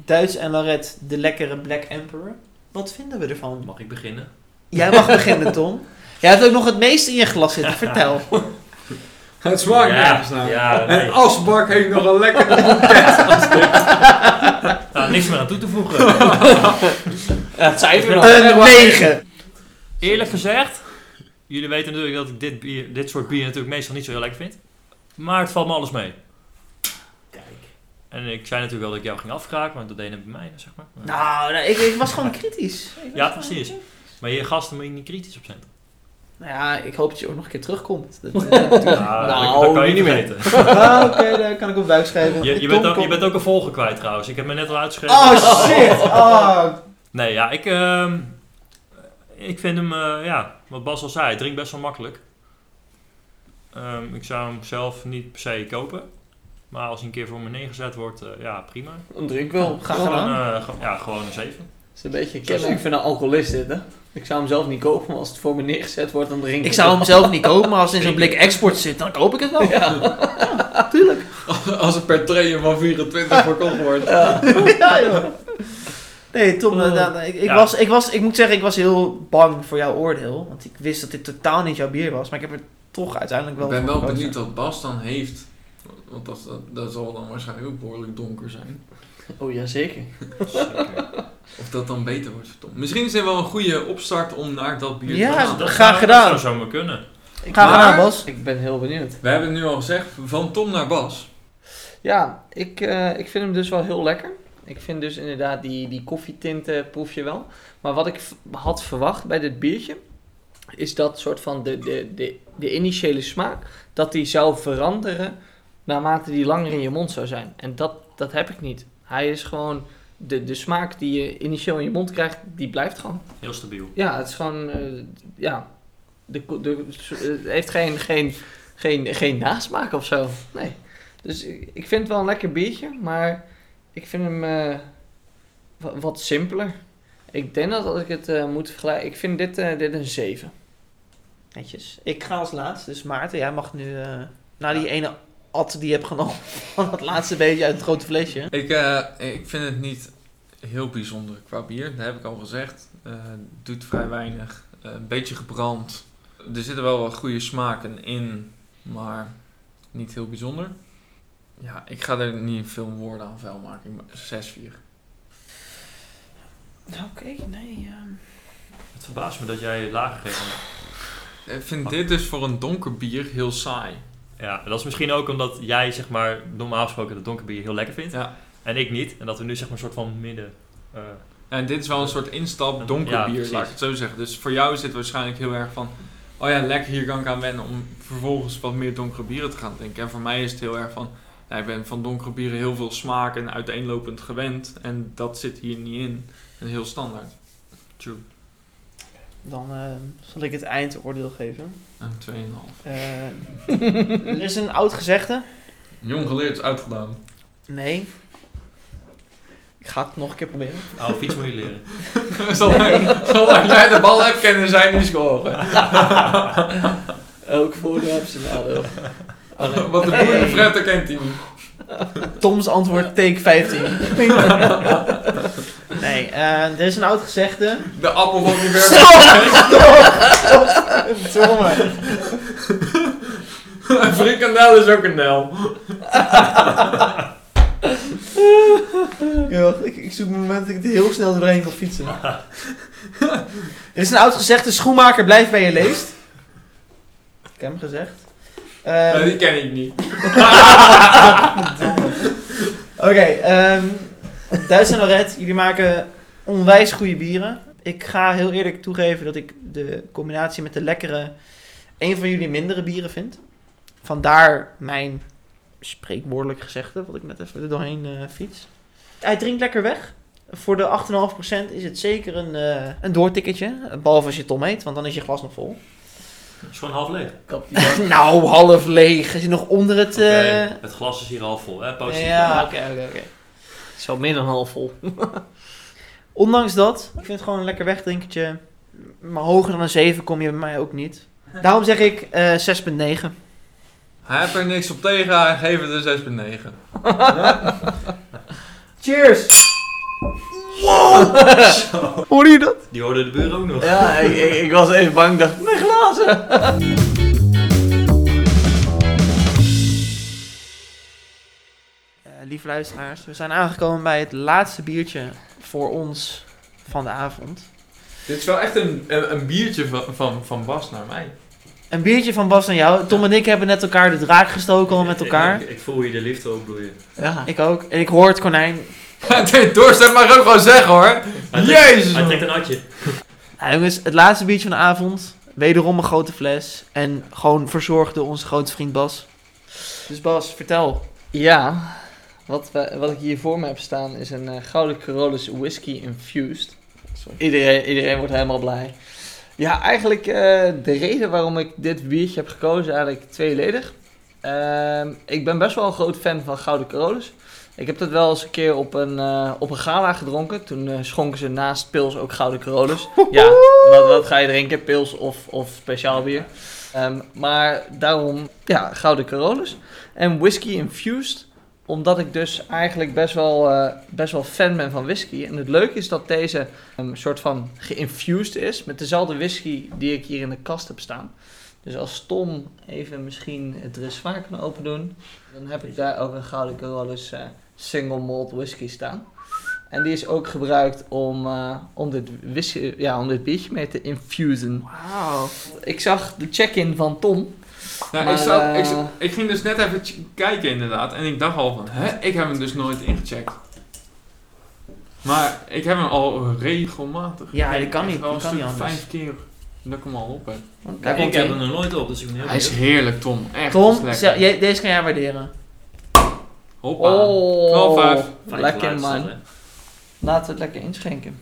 Duits en Laret, de lekkere Black Emperor. Wat vinden we ervan?
mag ik beginnen?
Jij mag beginnen, Tom. Jij hebt ook nog het meeste in je glas zitten, vertel.
Het smaakt nergens
ja,
naar.
ja, nee.
En Asbak heeft nog een lekkere
Nou, niks meer aan toe te voegen.
het cijfer
dan.
Een 9.
Eerlijk gezegd, jullie weten natuurlijk dat ik dit, bier, dit soort bier natuurlijk meestal niet zo heel lekker vind. Maar het valt me alles mee.
Kijk.
En ik zei natuurlijk wel dat ik jou ging afkraken, want dat deed het bij mij, zeg maar.
Nou, nou, ik, ik was gewoon kritisch. Ik was
Ja,
gewoon
precies.
kritisch.
Maar je gasten moet je niet kritisch op zijn.
Nou ja, ik hoop dat je ook nog een keer terugkomt. Dat, eh,
Nou,
dat kan je
niet
niet
meer.
weten.
Ah, Oké, daar kan ik op buik schrijven.
Je, je,
Tom
bent ook, je
komt-
bent ook een volger kwijt trouwens. Ik heb me net al uitgeschreven.
Oh shit! Oh.
Nee, ja, ik, ehm, ik vind hem, eh, ja, wat Bas al zei, hij drinkt best wel makkelijk. Ehm, ik zou hem zelf niet per se kopen. Maar als hij een keer voor me neergezet wordt, eh, ja, prima.
Dan drink ik wel.
Graag
Gewoon.
gedaan.
Gewoon, eh, ge- ja, gewoon een 7.
Het is een beetje kenmerk van een alcoholist dit, hè? Ik zou hem zelf niet kopen, maar als het voor me neergezet wordt, dan drink ik
Ik zou hem zelf niet kopen, maar als het in zo'n blik export zit, dan koop ik het wel.
Als het per train van 24 verkocht wordt.
Ja, joh. Nee, Tom, eh, nou, ik, ik,
Oh. Ja.
was, ik, was, ik moet zeggen, ik was heel bang voor jouw oordeel. Want ik wist dat dit totaal niet jouw bier was, maar ik heb er toch uiteindelijk
Ik
wel
ben
voor
wel
gekozen.
benieuwd wat Bas dan heeft. Want dat, dat, dat zal dan waarschijnlijk ook behoorlijk donker zijn.
Oh ja, zeker.
Of dat dan beter wordt voor Tom. Misschien is dit wel een goede opstart om naar dat bier
Ja,
te gaan.
dat- graag gedaan.
Dus Dat zou zomaar kunnen.
Ik ga
Maar-
gedaan, Bas.
Ik ben heel benieuwd.
We hebben nu al gezegd, van Tom naar Bas.
Ja, ik, eh, ik vind hem dus wel heel lekker. Ik vind dus inderdaad die, die koffietinten proef je wel. Maar wat ik v- had verwacht bij dit biertje, is dat soort van de, de, de, de initiële smaak, dat die zou veranderen naarmate die langer in je mond zou zijn. En dat, dat heb ik niet. Hij is gewoon, de, de smaak die je initieel in je mond krijgt, die blijft gewoon.
Heel stabiel.
Ja, het is gewoon. eh, ja. De, ko- de, het heeft geen, geen, geen, geen nasmaak of zo. Nee. Dus ik, ik vind het wel een lekker biertje, maar Ik vind hem eh, wa- wat simpeler. Ik denk dat als ik het eh, moet vergelijken... Ik vind dit, eh, dit een 7.
Netjes. Ik ga als laatst, dus Maarten, jij mag nu eh, na die ene at die je hebt genomen van dat laatste beetje uit het grote flesje.
Ik, eh, ik vind het niet heel bijzonder qua bier. Dat heb ik al gezegd. Eh, doet vrij weinig. Eh, een beetje gebrand. Er zitten wel wat goede smaken in, maar niet heel bijzonder. Ja, ik ga er niet veel woorden aan vuil maken. Ik ma- 6-4.
Nou, Oké, nee. ehm,
Het verbaast me dat jij lager geeft. dan-
Ik vind dit dus voor een donker bier heel saai.
Ja, en dat is misschien ook omdat jij, zeg maar, normaal gesproken het donker bier heel lekker vindt.
Ja.
En ik niet. En dat we nu, zeg maar, een soort van midden... eh,
En dit is wel een soort instap donker
Ja,
bier,
precies.
laat ik het zo zeggen. Dus voor jou is het waarschijnlijk heel erg van... Oh ja, lekker, hier kan ik aan wennen om vervolgens wat meer donkere bieren te gaan drinken. En voor mij is het heel erg van... Nou, ik ben van donkere bieren heel veel smaak en uiteenlopend gewend. En dat zit hier niet in. En heel standaard. True.
Dan eh, zal ik het eindoordeel geven.
En 2,5.
Eh, er is een oud gezegde.
Jong geleerd is uitgedaan.
Nee. Ik ga het nog een keer proberen.
oude fiets moet je leren.
zolang, zolang jij de bal hebt, kennen zij niet scoren.
Ook voor de absenade.
Want de boer Fred kent hij niet.
Toms antwoord, take 15. nee, eh, er is een oud gezegde.
De appel van die werk.
Verdomme.
Een frikandel is ook een nel.
Ja, wacht, ik, ik zoek een moment dat ik er heel snel doorheen kan fietsen. er is een oud gezegde, schoenmaker blijft bij je leest. Ik heb hem gezegd. Eh,
Nee, die ken ik niet.
Oké, ehm Duits en Lorette, jullie maken onwijs goede bieren. Ik ga heel eerlijk toegeven dat ik de combinatie met de lekkere een van jullie mindere bieren vind. Vandaar mijn spreekwoordelijk gezegde, wat ik net even er doorheen eh, fiets. Hij drinkt lekker weg. Voor de 8,5% is het zeker een, eh een doortikketje. Behalve als je het omeet, want dan is je glas nog vol.
Het is gewoon half leeg.
nou, half leeg. Is hij nog onder het... eh,
Oké, Het glas is hier half vol, hè? Positief.
ja, oké, oké, oké.
Het is al meer dan half vol.
Ondanks dat, ik vind het gewoon een lekker wegdrinkertje. Maar hoger dan een 7 kom je bij mij ook niet. Daarom zeg ik eh 6,9.
Hij heeft er niks op tegen, hij geeft het een 6,9.
Cheers! Wow! Hoorde je dat?
Die hoorden de buren ook nog.
Ja, ik, ik, ik was even bang. Ik dacht, mijn glazen!
Eh, lieve luisteraars, we zijn aangekomen bij het laatste biertje voor ons van de avond.
Dit is wel echt een, een, een biertje van, van, van Bas naar mij.
Een biertje van Bas en jou. Tom en ik hebben net elkaar de draak gestoken al met elkaar.
Ik, ik- ik voel je de liefde opbloeien.
Ja.
Ik ook. En ik hoor het konijn.
Dit doorzet mag ook gewoon zeggen hoor.
Hij trekt-
Jezus!
Hij
man.
trekt een atje.
Nou jongens, het laatste biertje van de avond. Wederom een grote fles. En gewoon verzorgd door onze grote vriend Bas. Dus Bas, vertel.
Ja, wat, we- wat ik hier voor me heb staan is een eh, Gouden Carolus Whisky Infused. Iedereen, iedereen wordt helemaal blij. Ja, eigenlijk eh, de reden waarom ik dit biertje heb gekozen, eigenlijk tweeledig. Ehm, ik ben best wel een groot fan van Gouden Carolus. Ik heb dat wel eens een keer op een, eh, op een gala gedronken. Toen eh, schonken ze naast pils ook Gouden Carolus. Ja, wat, wat ga je drinken? Pils of, of speciaal bier. Ehm, maar daarom, ja, Gouden Carolus. En whisky infused, omdat ik dus eigenlijk best wel, eh, best wel fan ben van whisky. En het leuke is dat deze een soort van geïnfused is met dezelfde whisky die ik hier in de kast heb staan. Dus als Tom even misschien het dressoir kan open doen, dan heb ik daar ook een Gouden Carolus eh, single malt whisky staan. En die is ook gebruikt om, eh, om, dit whisky, ja, om dit biertje mee te infusen.
Wauw.
Ik zag de check-in van Tom.
Nou,
maar,
ik, zat- ik,
eh,
zat- ik ging dus net even ch- kijken inderdaad. En ik dacht al van, hè, ik heb hem dus nooit ingecheckt. Maar ik heb hem al regelmatig.
Ja,
Ik
dat kan
echt
niet,
wel
dat
een
kan
stuk
niet anders.
Vijf keer dat ik hem al op heb.
Daar
ik
komt
heb
hij.
hem er nooit op, dus ik ben heel
Hij is
benieuwd.
heerlijk Tom. Echt dat
Tom,
is
ze-
lekker.
jij- deze kan jij waarderen.
Hoppa.
Oh,
12,5.
Fijn
lekker
geluid is
man.
dat, hè.
Laten we het lekker inschenken.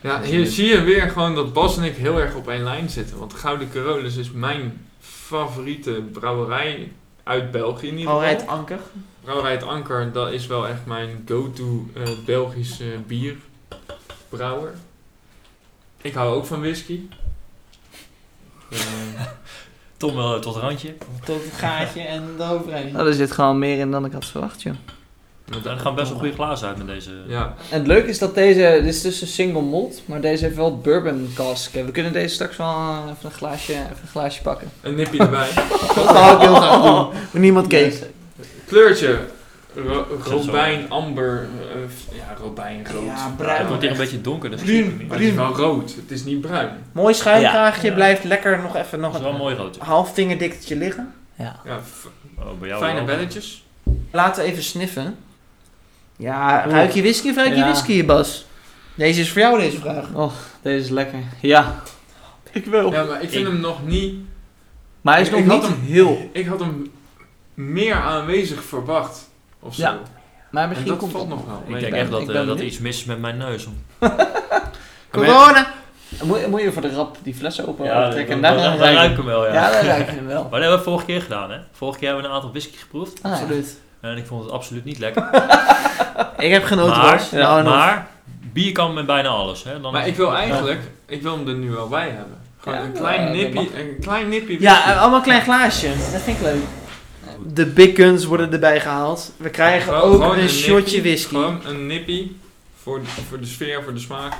Ja, hier zie je weer gewoon dat Bas en ik heel erg op één lijn zitten. Want Gouden Carolus is mijn favoriete brouwerij Uit België in ieder geval.
Alright, anker.
Brouwerij Het Anker, dat is wel echt mijn go-to eh Belgische bierbrouwer. Ik hou ook van whisky. Eh,
Tom wel tot het randje.
Tot het gaatje en de overheen.
Nou, er zit gewoon meer in dan ik had verwacht, joh.
met-
Daar gaan best wel goede glazen uit met deze.
Ja,
En het leuke is dat deze, dit is dus een single malt, maar deze heeft wel bourbon cask. We kunnen deze straks wel eh, even een glaasje, even een glaasje pakken.
een nipje erbij.
Dat zou ik heel graag doen. Maar niemand keek.
Kleurtje. Ro-
zo.
robijn, amber. eh, f- ja, robijn, rood.
Ja, bruin.
Het wordt hier een beetje donker, dus- dat
Bruin.
schiet er niet.
Maar het is wel rood. Het is niet bruin.
Mooi schuinkraagje,
Ja.
blijft lekker nog even
Dat
nog
is wel een
een
mooi roodje.
half vingerdikkertje liggen.
Ja.
Ja, f-
Oh, bij jou
fijne
wel.
belletjes.
Laten we even sniffen. Ja,
Oeh.
ruik je whisky of ruik je
Ja.
whisky, Bas? Deze is voor jou, deze vraag.
Oh, deze is lekker. Ja. Ik wil.
Ja, maar ik vind
Ik-
hem nog niet...
Maar hij is
ik
nog
had
niet
hem-
heel.
Ik had hem meer aanwezig verwacht. Of zo.
Ja, Maar
en
misschien
dat
komt
valt
het
nog wel.
Ik
mee.
denk
ben-
echt dat,
ik
eh,
ben
dat er
benieuwd.
iets mis is met mijn neus. om- Ah,
Corona!
Moet, moet je voor de rap die fles open
Ja, dan,
trekken
dan,
en daar gaan
dan ruik ik
ruiken?
hem wel, ja.
Ja, daar ruik je hem wel.
Maar dat hebben we vorige keer gedaan, hè. Vorige keer hebben we een aantal whisky geproefd.
Ah, ja.
Absoluut.
En ik vond het absoluut niet lekker.
Ik heb genoten,
maar,
Bas. Nou, en of.
maar bier kan met bijna alles, hè. Dan
Maar
is-
ik wil eigenlijk, ik wil hem er nu wel bij hebben. Gewoon
Ja,
een, klein
eh, dat
nippie, een klein nippie.
Ja,
whisky.
eh, allemaal een klein glaasje. Dat vind ik leuk. De big guns worden erbij gehaald. We krijgen
Gewoon-
ook
gewoon
een, shotje
nippie,
whisky.
Gewoon een nippie voor de, voor de sfeer, voor de smaak.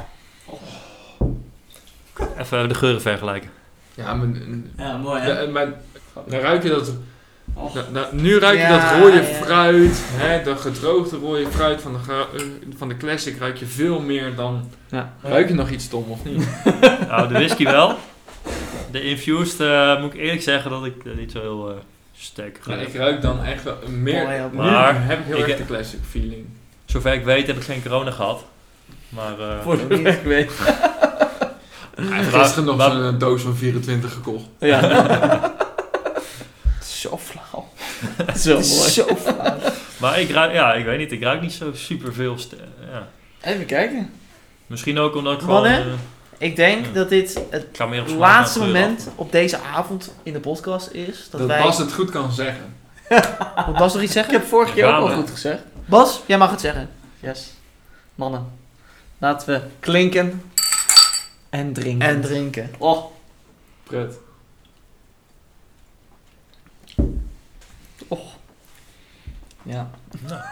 Even de geuren vergelijken.
Ja, maar, eh,
Ja, mooi
eh, maar dan ruik je dat. da- da- nu ruik je
Ja,
dat rode
ja.
fruit, hè, de gedroogde rode fruit van de, gra- eh, van de classic ruik je veel meer dan.
Ja.
Ruik je nog iets stom of niet?
Nou, de whisky wel. De infused, eh, moet ik eerlijk zeggen dat ik er niet zo heel eh, sterk
Ja,
ga.
ik ruik dan echt wel meer.
Mooi, ja.
nu
Maar
heb ik heel
ik-
erg de classic feeling.
Zover ik weet heb ik geen corona gehad. Maar eh,
Voor de weg weet.
Hij heeft
Waar-
gisteren nog
waar-
zo'n eh, doos van 24 gekocht.
Ja.
Het is Zo flauw.
Dat is wel
Het is
mooi.
Zo flauw.
Maar ik ruik, ja, ik weet niet, ik ruik niet zo super veel. Ja.
Even kijken.
Misschien ook omdat ik
Mannen?
gewoon. eh,
Ik denk
Ja.
dat dit het
ik ga meer op smaak
laatste
naar kleur
moment op deze avond in de podcast is. Dat,
Dat
wij...
Bas het goed kan zeggen.
Moet Bas nog iets
Ik
zeggen?
heb vorige keer
Ja,
ook al
maar-
goed gezegd.
Bas, jij mag het zeggen.
Yes. Mannen. Laten we klinken. En drinken.
En drinken.
Oh,
Pret.
ja.
af.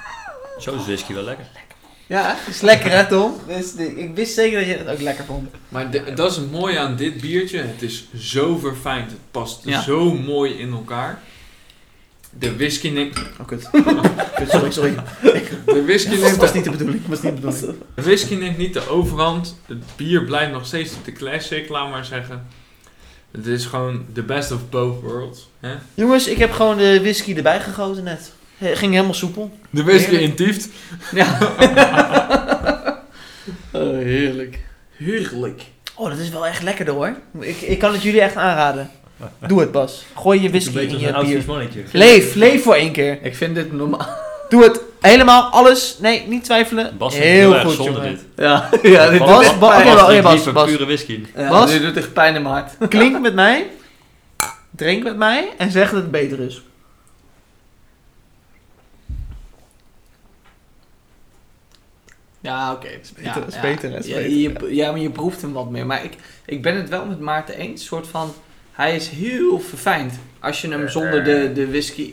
Zo is whisky wel lekker.
Ja, is lekker hè Tom? Dus, de- ik wist zeker dat je het ook lekker vond.
Maar de- dat is het mooie aan dit biertje. Het is zo verfijnd. Het past
Ja.
zo mooi in elkaar. De whisky neemt,
Oh, kut. Kut, sorry, sorry.
de whisky
Dat
neemt,
was
de,
niet de bedoeling. Was niet de bedoeling.
de whisky neemt niet de overhand. Het bier blijft nog steeds de classic, laat maar zeggen. Het is gewoon the best of both worlds. Hè?
Jongens, ik heb gewoon de whisky erbij gegoten net. He- ging helemaal soepel.
De whisky
Heerlijk.
in Tieft.
Ja. oh, heerlijk. Heerlijk.
Oh, dat is wel echt lekker hoor. Ik, ik kan het jullie echt aanraden. Doe het Bas. Gooi je whisky in je bier.
mannetje.
Leef, leef voor één keer.
Ik vind dit normaal.
Doe het helemaal, alles. Nee, niet twijfelen.
Bas vindt
Heel
het erg
goed,
zonde
jongen.
dit.
Ja, ja dit,
Bas, Bas,
Bas
jawel,
drinkt
Bas,
liever
Bas.
pure whisky.
ja,
Bas?
dit doet echt pijn in mijn hart.
Klink met mij. Drink met mij. En zeg dat het beter is.
Ja, oké. het is
beter, het is beter, het is
ja,
beter,
je- ja, maar je proeft hem wat meer. Maar ik, ik ben het wel met Maarten eens. soort van, hij is heel verfijnd. Als je hem zonder de, de whisky...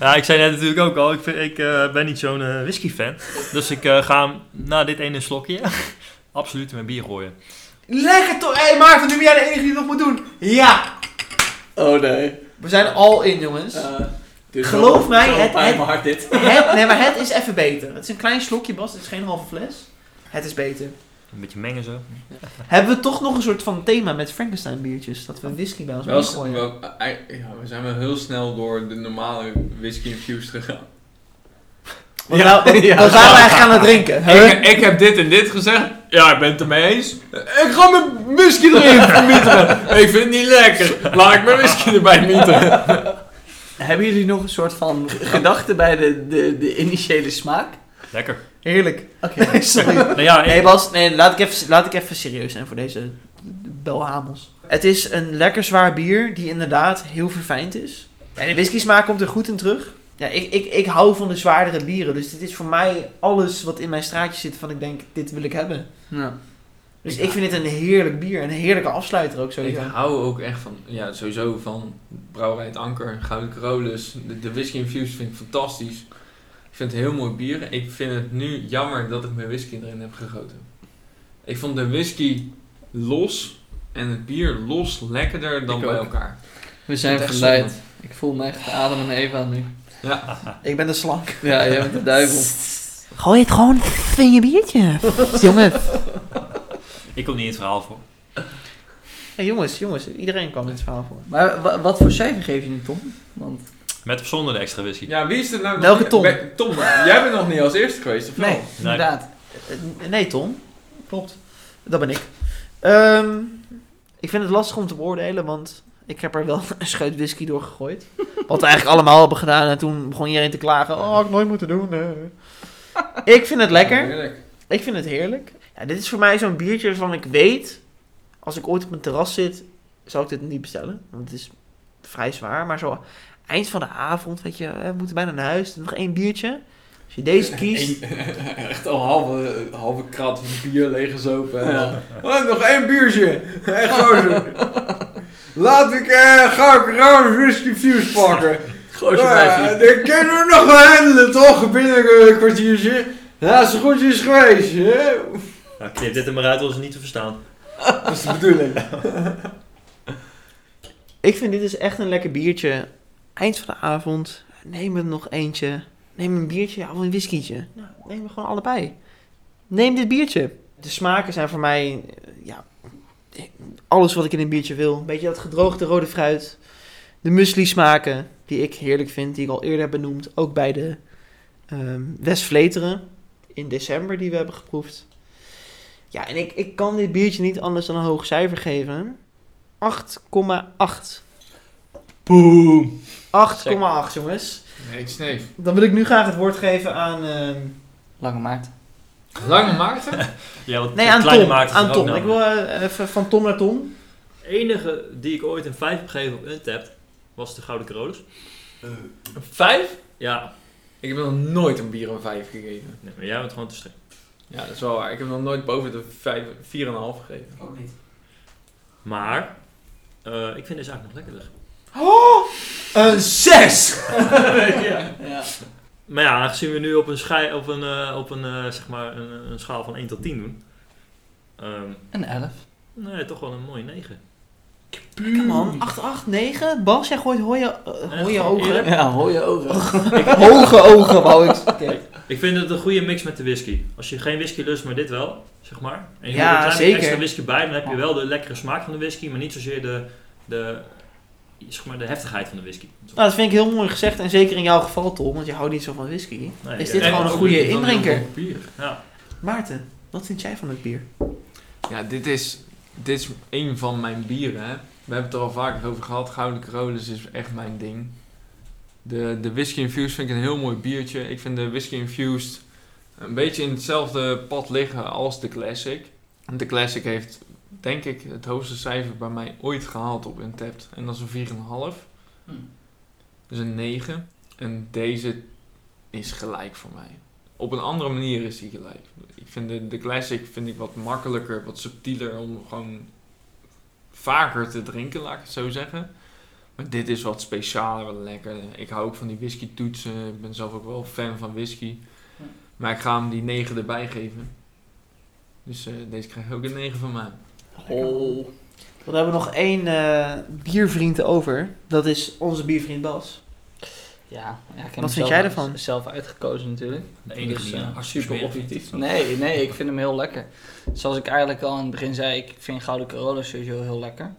Ja, ik zei net natuurlijk ook al, ik, vind, ik eh, ben niet zo'n eh, whisky-fan. Dus ik eh, ga hem na dit ene slokje absoluut in mijn bier gooien.
Lekker toch. Hé Maarten, nu ben jij de enige die het nog moet doen. Ja.
Oh nee. Dus
We zijn al in jongens.
Eh,
Geloof mij, het- het-
hart dit.
Het, nee, maar het is even beter. Het is een klein slokje Bas. Het is geen halve fles. Het is beter.
Een beetje mengen zo.
Hebben we toch nog een soort van thema met Frankenstein biertjes. Dat we een whisky bij ons
Wel,
moeten gooien.
wel- ei- ja, we zijn wel heel snel door de normale whisky infused gegaan.
Want
Ja.
nou,
Ja.
want waren we eigenlijk aan het drinken. Huh?
Ik, ik heb dit en dit gezegd. Ja, ik ben het ermee eens. Eh, Ik ga mijn whisky erin vermieteren. Ik vind het niet lekker. Laat ik mijn whisky erbij mieteren.
Hebben jullie nog een soort van gedachte bij de, de, de initiële smaak?
Lekker.
Heerlijk. Oké, sorry.
Nou ja, ik-
Nee Bas, nee, laat, ik even, laat ik even serieus zijn voor deze belhamels. Het is een lekker zwaar bier die inderdaad heel verfijnd is. En de whisky smaak komt er goed in terug. Ja, ik, ik, ik hou van de zwaardere bieren. Dus dit is voor mij alles wat in mijn straatje zit van ik denk, dit wil ik hebben.
Ja.
Dus
Ik-
ik vind dit een heerlijk bier. Een heerlijke afsluiter ook
Ik
sowieso.
hou ook echt van, ja, sowieso van Brouwerij het Anker, Gouden Carolus. De, de whisky infused vind ik fantastisch. Ik vind het heel mooi bier. Ik vind het nu jammer dat ik mijn whisky erin heb gegoten. Ik vond de whisky los en het bier los lekkerder dan
Ik
bij
ook.
elkaar.
We
Ik vind
zijn
het echt
verleid.
zonde.
Ik voel me echt Adam en Eva nu.
Ik ben de slank.
Ja, jij bent de duivel.
Gooi het gewoon in je biertje. Jongen.
Ik kom niet in het verhaal voor.
jongens, jongens. Iedereen kwam in het verhaal voor.
Maar wa- wat voor cijfer geef je nu, Tom? Want
Met of zonder de extra whisky.
Ja, wie is er nou?
Welke Tom?
Be- Tom, jij bent nog niet als eerste geweest, of wel?
Nee,
inderdaad.
Eh, Nee, Tom. Klopt. Dat ben ik. Ehm, ik vind het lastig om te beoordelen, want ik heb er wel een scheut whisky door gegooid. Wat we eigenlijk allemaal hebben gedaan. En toen begon iedereen te klagen. Oh, had ik nooit moeten doen. eh. Ik vind het lekker.
Heerlijk.
Ik vind het heerlijk. Ja, dit is voor mij zo'n biertje waarvan ik weet... Als ik ooit op een terras zit, zal ik dit niet bestellen. Want het is vrij zwaar. Maar zo eind van de avond, weet je, eh, we moeten bijna naar huis. Nog één biertje. Als je deze kiest...
Eén- echt al halve, halve krat bier leeggezopen. en dan, Oh, nog één biertje. Echt gozer. Laat ik eh ga ik Rauw Whisky Fuse pakken.
Gozer
Eh, dat kunnen we nog wel handelen, toch? Binnen een eh, kwartiertje. Ja, zo goed is geweest. Hè?
Nou, knip dit er maar uit, want het is niet te verstaan.
Dat is de bedoeling.
Ik vind dit is echt een lekker biertje. Eind van de avond, neem er nog eentje. Neem een biertje of een whiskietje. Nou, neem er gewoon allebei. Neem dit biertje. De smaken zijn voor mij, eh, ja, alles wat ik in een biertje wil. Beetje dat gedroogde rode fruit. De muesli smaken, die ik heerlijk vind, die ik al eerder heb benoemd. Ook bij de ehm West Vleteren in december die we hebben geproefd. Ja, en ik, ik kan dit biertje niet anders dan een hoog cijfer geven. 8,8.
Boom.
8,8 jongens.
Nee, ik sneef.
Dan wil ik nu graag het woord geven aan... ehm,
Lange Maarten.
Lange Maarten?
Ja, want
Nee,
de
aan
kleine
Tom.
maakt het
Aan
er ook
Tom.
naar.
Ik wil eh, even van Tom naar Tom.
enige die ik ooit een 5 heb gegeven op Untapped was de Gouden Carolus.
Vijf?
Ja,
Ik heb nog nooit een bier een vijf gegeven.
nee, maar jij bent gewoon te streng.
Ja, dat is wel waar. Ik heb nog nooit boven de vijf, vier en een half gegeven.
Ook niet.
Maar eh, ik vind deze eigenlijk nog lekkerder.
Een zes!
Ja.
Maar ja, aangezien we nu op een, schei, op een, eh, op een, eh, zeg maar een, een schaal van 1 tot 10 doen. ehm,
Een 11.
nee, toch wel een mooie 9.
Hmm. Come on. 8, 8, 9. Bas, jij gooit hooie,
Eh,
eh, hooie
gewoon
ogen.
eerlijk.
Ja, hoor je ogen.
Hoge ogen wou ik
Ik vind het een goede mix met de whisky. Als je geen whisky lust, maar dit wel, zeg maar. En je
Ja,
doet er een klein
zeker.
beetje extra whisky bij, dan heb je wel de lekkere smaak van de whisky, maar niet zozeer de, de, zeg maar, de heftigheid van de whisky.
Nou, dat vind ik heel mooi gezegd. En zeker in jouw geval, Tom. Want je houdt niet zo van whisky.
Nee,
Is
ja.
dit
En-
gewoon een goede indrinker?
Bier.
Ja.
Maarten, wat vind jij van het bier?
Ja, dit is, dit is een van mijn bieren. Hè. We hebben het er al vaker over gehad. Gouden Carolus is echt mijn ding. De, de Whisky Infused vind ik een heel mooi biertje. Ik vind de Whisky Infused een beetje in hetzelfde pad liggen als de Classic. De Classic heeft, denk ik, het hoogste cijfer bij mij ooit gehaald op Untapped. En dat is een 4,5.
Hm.
Dus een 9. En deze is gelijk voor mij. Op een andere manier is die gelijk. Ik vind de, de classic vind ik wat makkelijker, wat subtieler om gewoon vaker te drinken, laat ik het zo zeggen. Maar dit is wat specialer, wat lekker. Ik hou ook van die whisky toetsen. Ik ben zelf ook wel fan van whisky.
Ja.
Maar ik ga hem die 9 erbij geven. Dus eh, deze krijgt ook een 9 van mij.
Oh. Dan hebben we nog één eh, biervriend over. Dat is onze biervriend Bas.
Ja, ja, ik heb hem
vind
zelf-
jij ervan?
Zelf uitgekozen natuurlijk.
De enige
Dus,
die
eh,
een
Super
smerig
objectief.
Nee, nee, ik vind hem heel lekker. Zoals ik eigenlijk al in het begin zei, ik vind Gouden Corolla sowieso heel lekker.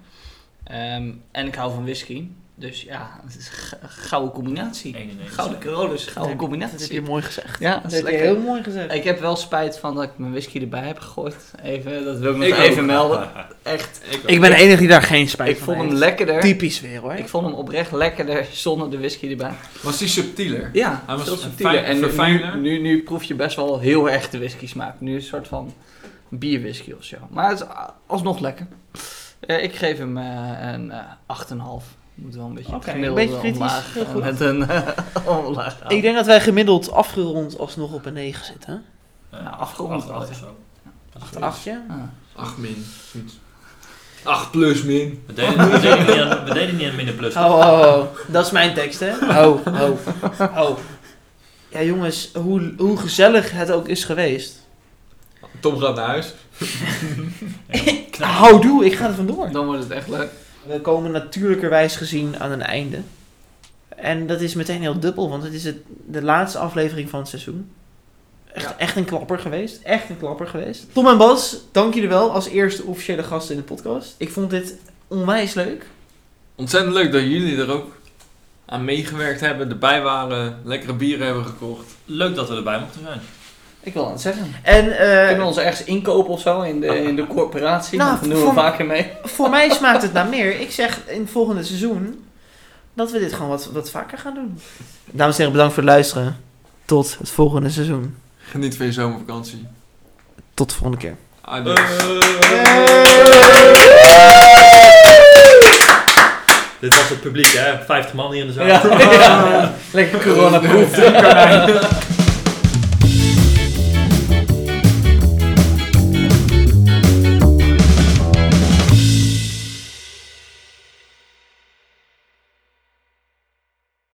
Ehm, en ik hou van whisky. Dus ja, het is een g- gouden combinatie.
Eén in één.
Gouden Corolla is Oh, een gouden
Nee, Dat heb je
combinatie.
mooi gezegd.
Ja,
Dat
dat is
heb je
lekker.
heel mooi gezegd.
Ik heb wel spijt van dat ik mijn whisky erbij heb gegooid. Even, dat wil ik nog
Ik
even
ook.
melden. Echt.
Ik ben de enige die daar geen spijt
Ik
van
vond hem
heeft.
lekkerder.
Typisch weer hoor.
Ik vond hem oprecht lekkerder zonder de whisky erbij.
Was die subtieler?
Ja,
Hij was
veel
fijn-
subtieler. En nu-
verfijnder.
nu, nu, nu proef je best wel heel erg de whisky smaak. Nu is het een soort van bierwhisky of zo. Maar het is a- alsnog lekker. Eh, ik geef hem eh, een eh 8,5. Moet wel een beetje
Oké,
het
een
gemiddelde
beetje kritisch.
omlaag,
Heel
eh,
goed.
Met een eh, omlaag.
Ik denk dat wij gemiddeld afgerond alsnog op een 9 zitten.
Nou, afgerond
Acht, acht of zo.
Een achtje.
Ah.
8 min. 8 plus min.
We deden, we deden niet aan, we deden niet aan min en plus.
Oh, oh, oh. dat is mijn tekst, hè? Oh, oh, oh. Ja, jongens, hoe, hoe gezellig het ook is geweest.
Tom gaat naar huis.
Hou doe, ik ga er vandoor.
Dan wordt het echt leuk.
We komen natuurlijkerwijs gezien aan een einde. En dat is meteen heel dubbel, want het is het, de laatste aflevering van het seizoen. Echt, echt een klapper geweest. Echt een klapper geweest. Tom en Bas, dank jullie wel als eerste officiële gasten in de podcast. Ik vond dit onwijs leuk.
Ontzettend leuk dat jullie er ook aan meegewerkt hebben, erbij waren, lekkere bieren hebben gekocht.
Leuk dat we erbij mochten zijn.
Ik wil aan het zeggen. Ah.
En eh,
Kunnen we ons ergens inkopen of zo in de, in de corporatie?
Nou,
dat doen we
voor-
vaker mee.
voor mij smaakt het naar meer. Ik zeg in het volgende seizoen dat we dit gewoon wat, wat vaker gaan doen. Dames en heren, bedankt voor het luisteren. Tot het volgende seizoen.
Geniet van je zomervakantie.
Tot de volgende keer.
Adios.
Eh. Dit was het publiek, hè? 50 man hier in de zaal.
Ja, Lekker coronaproof.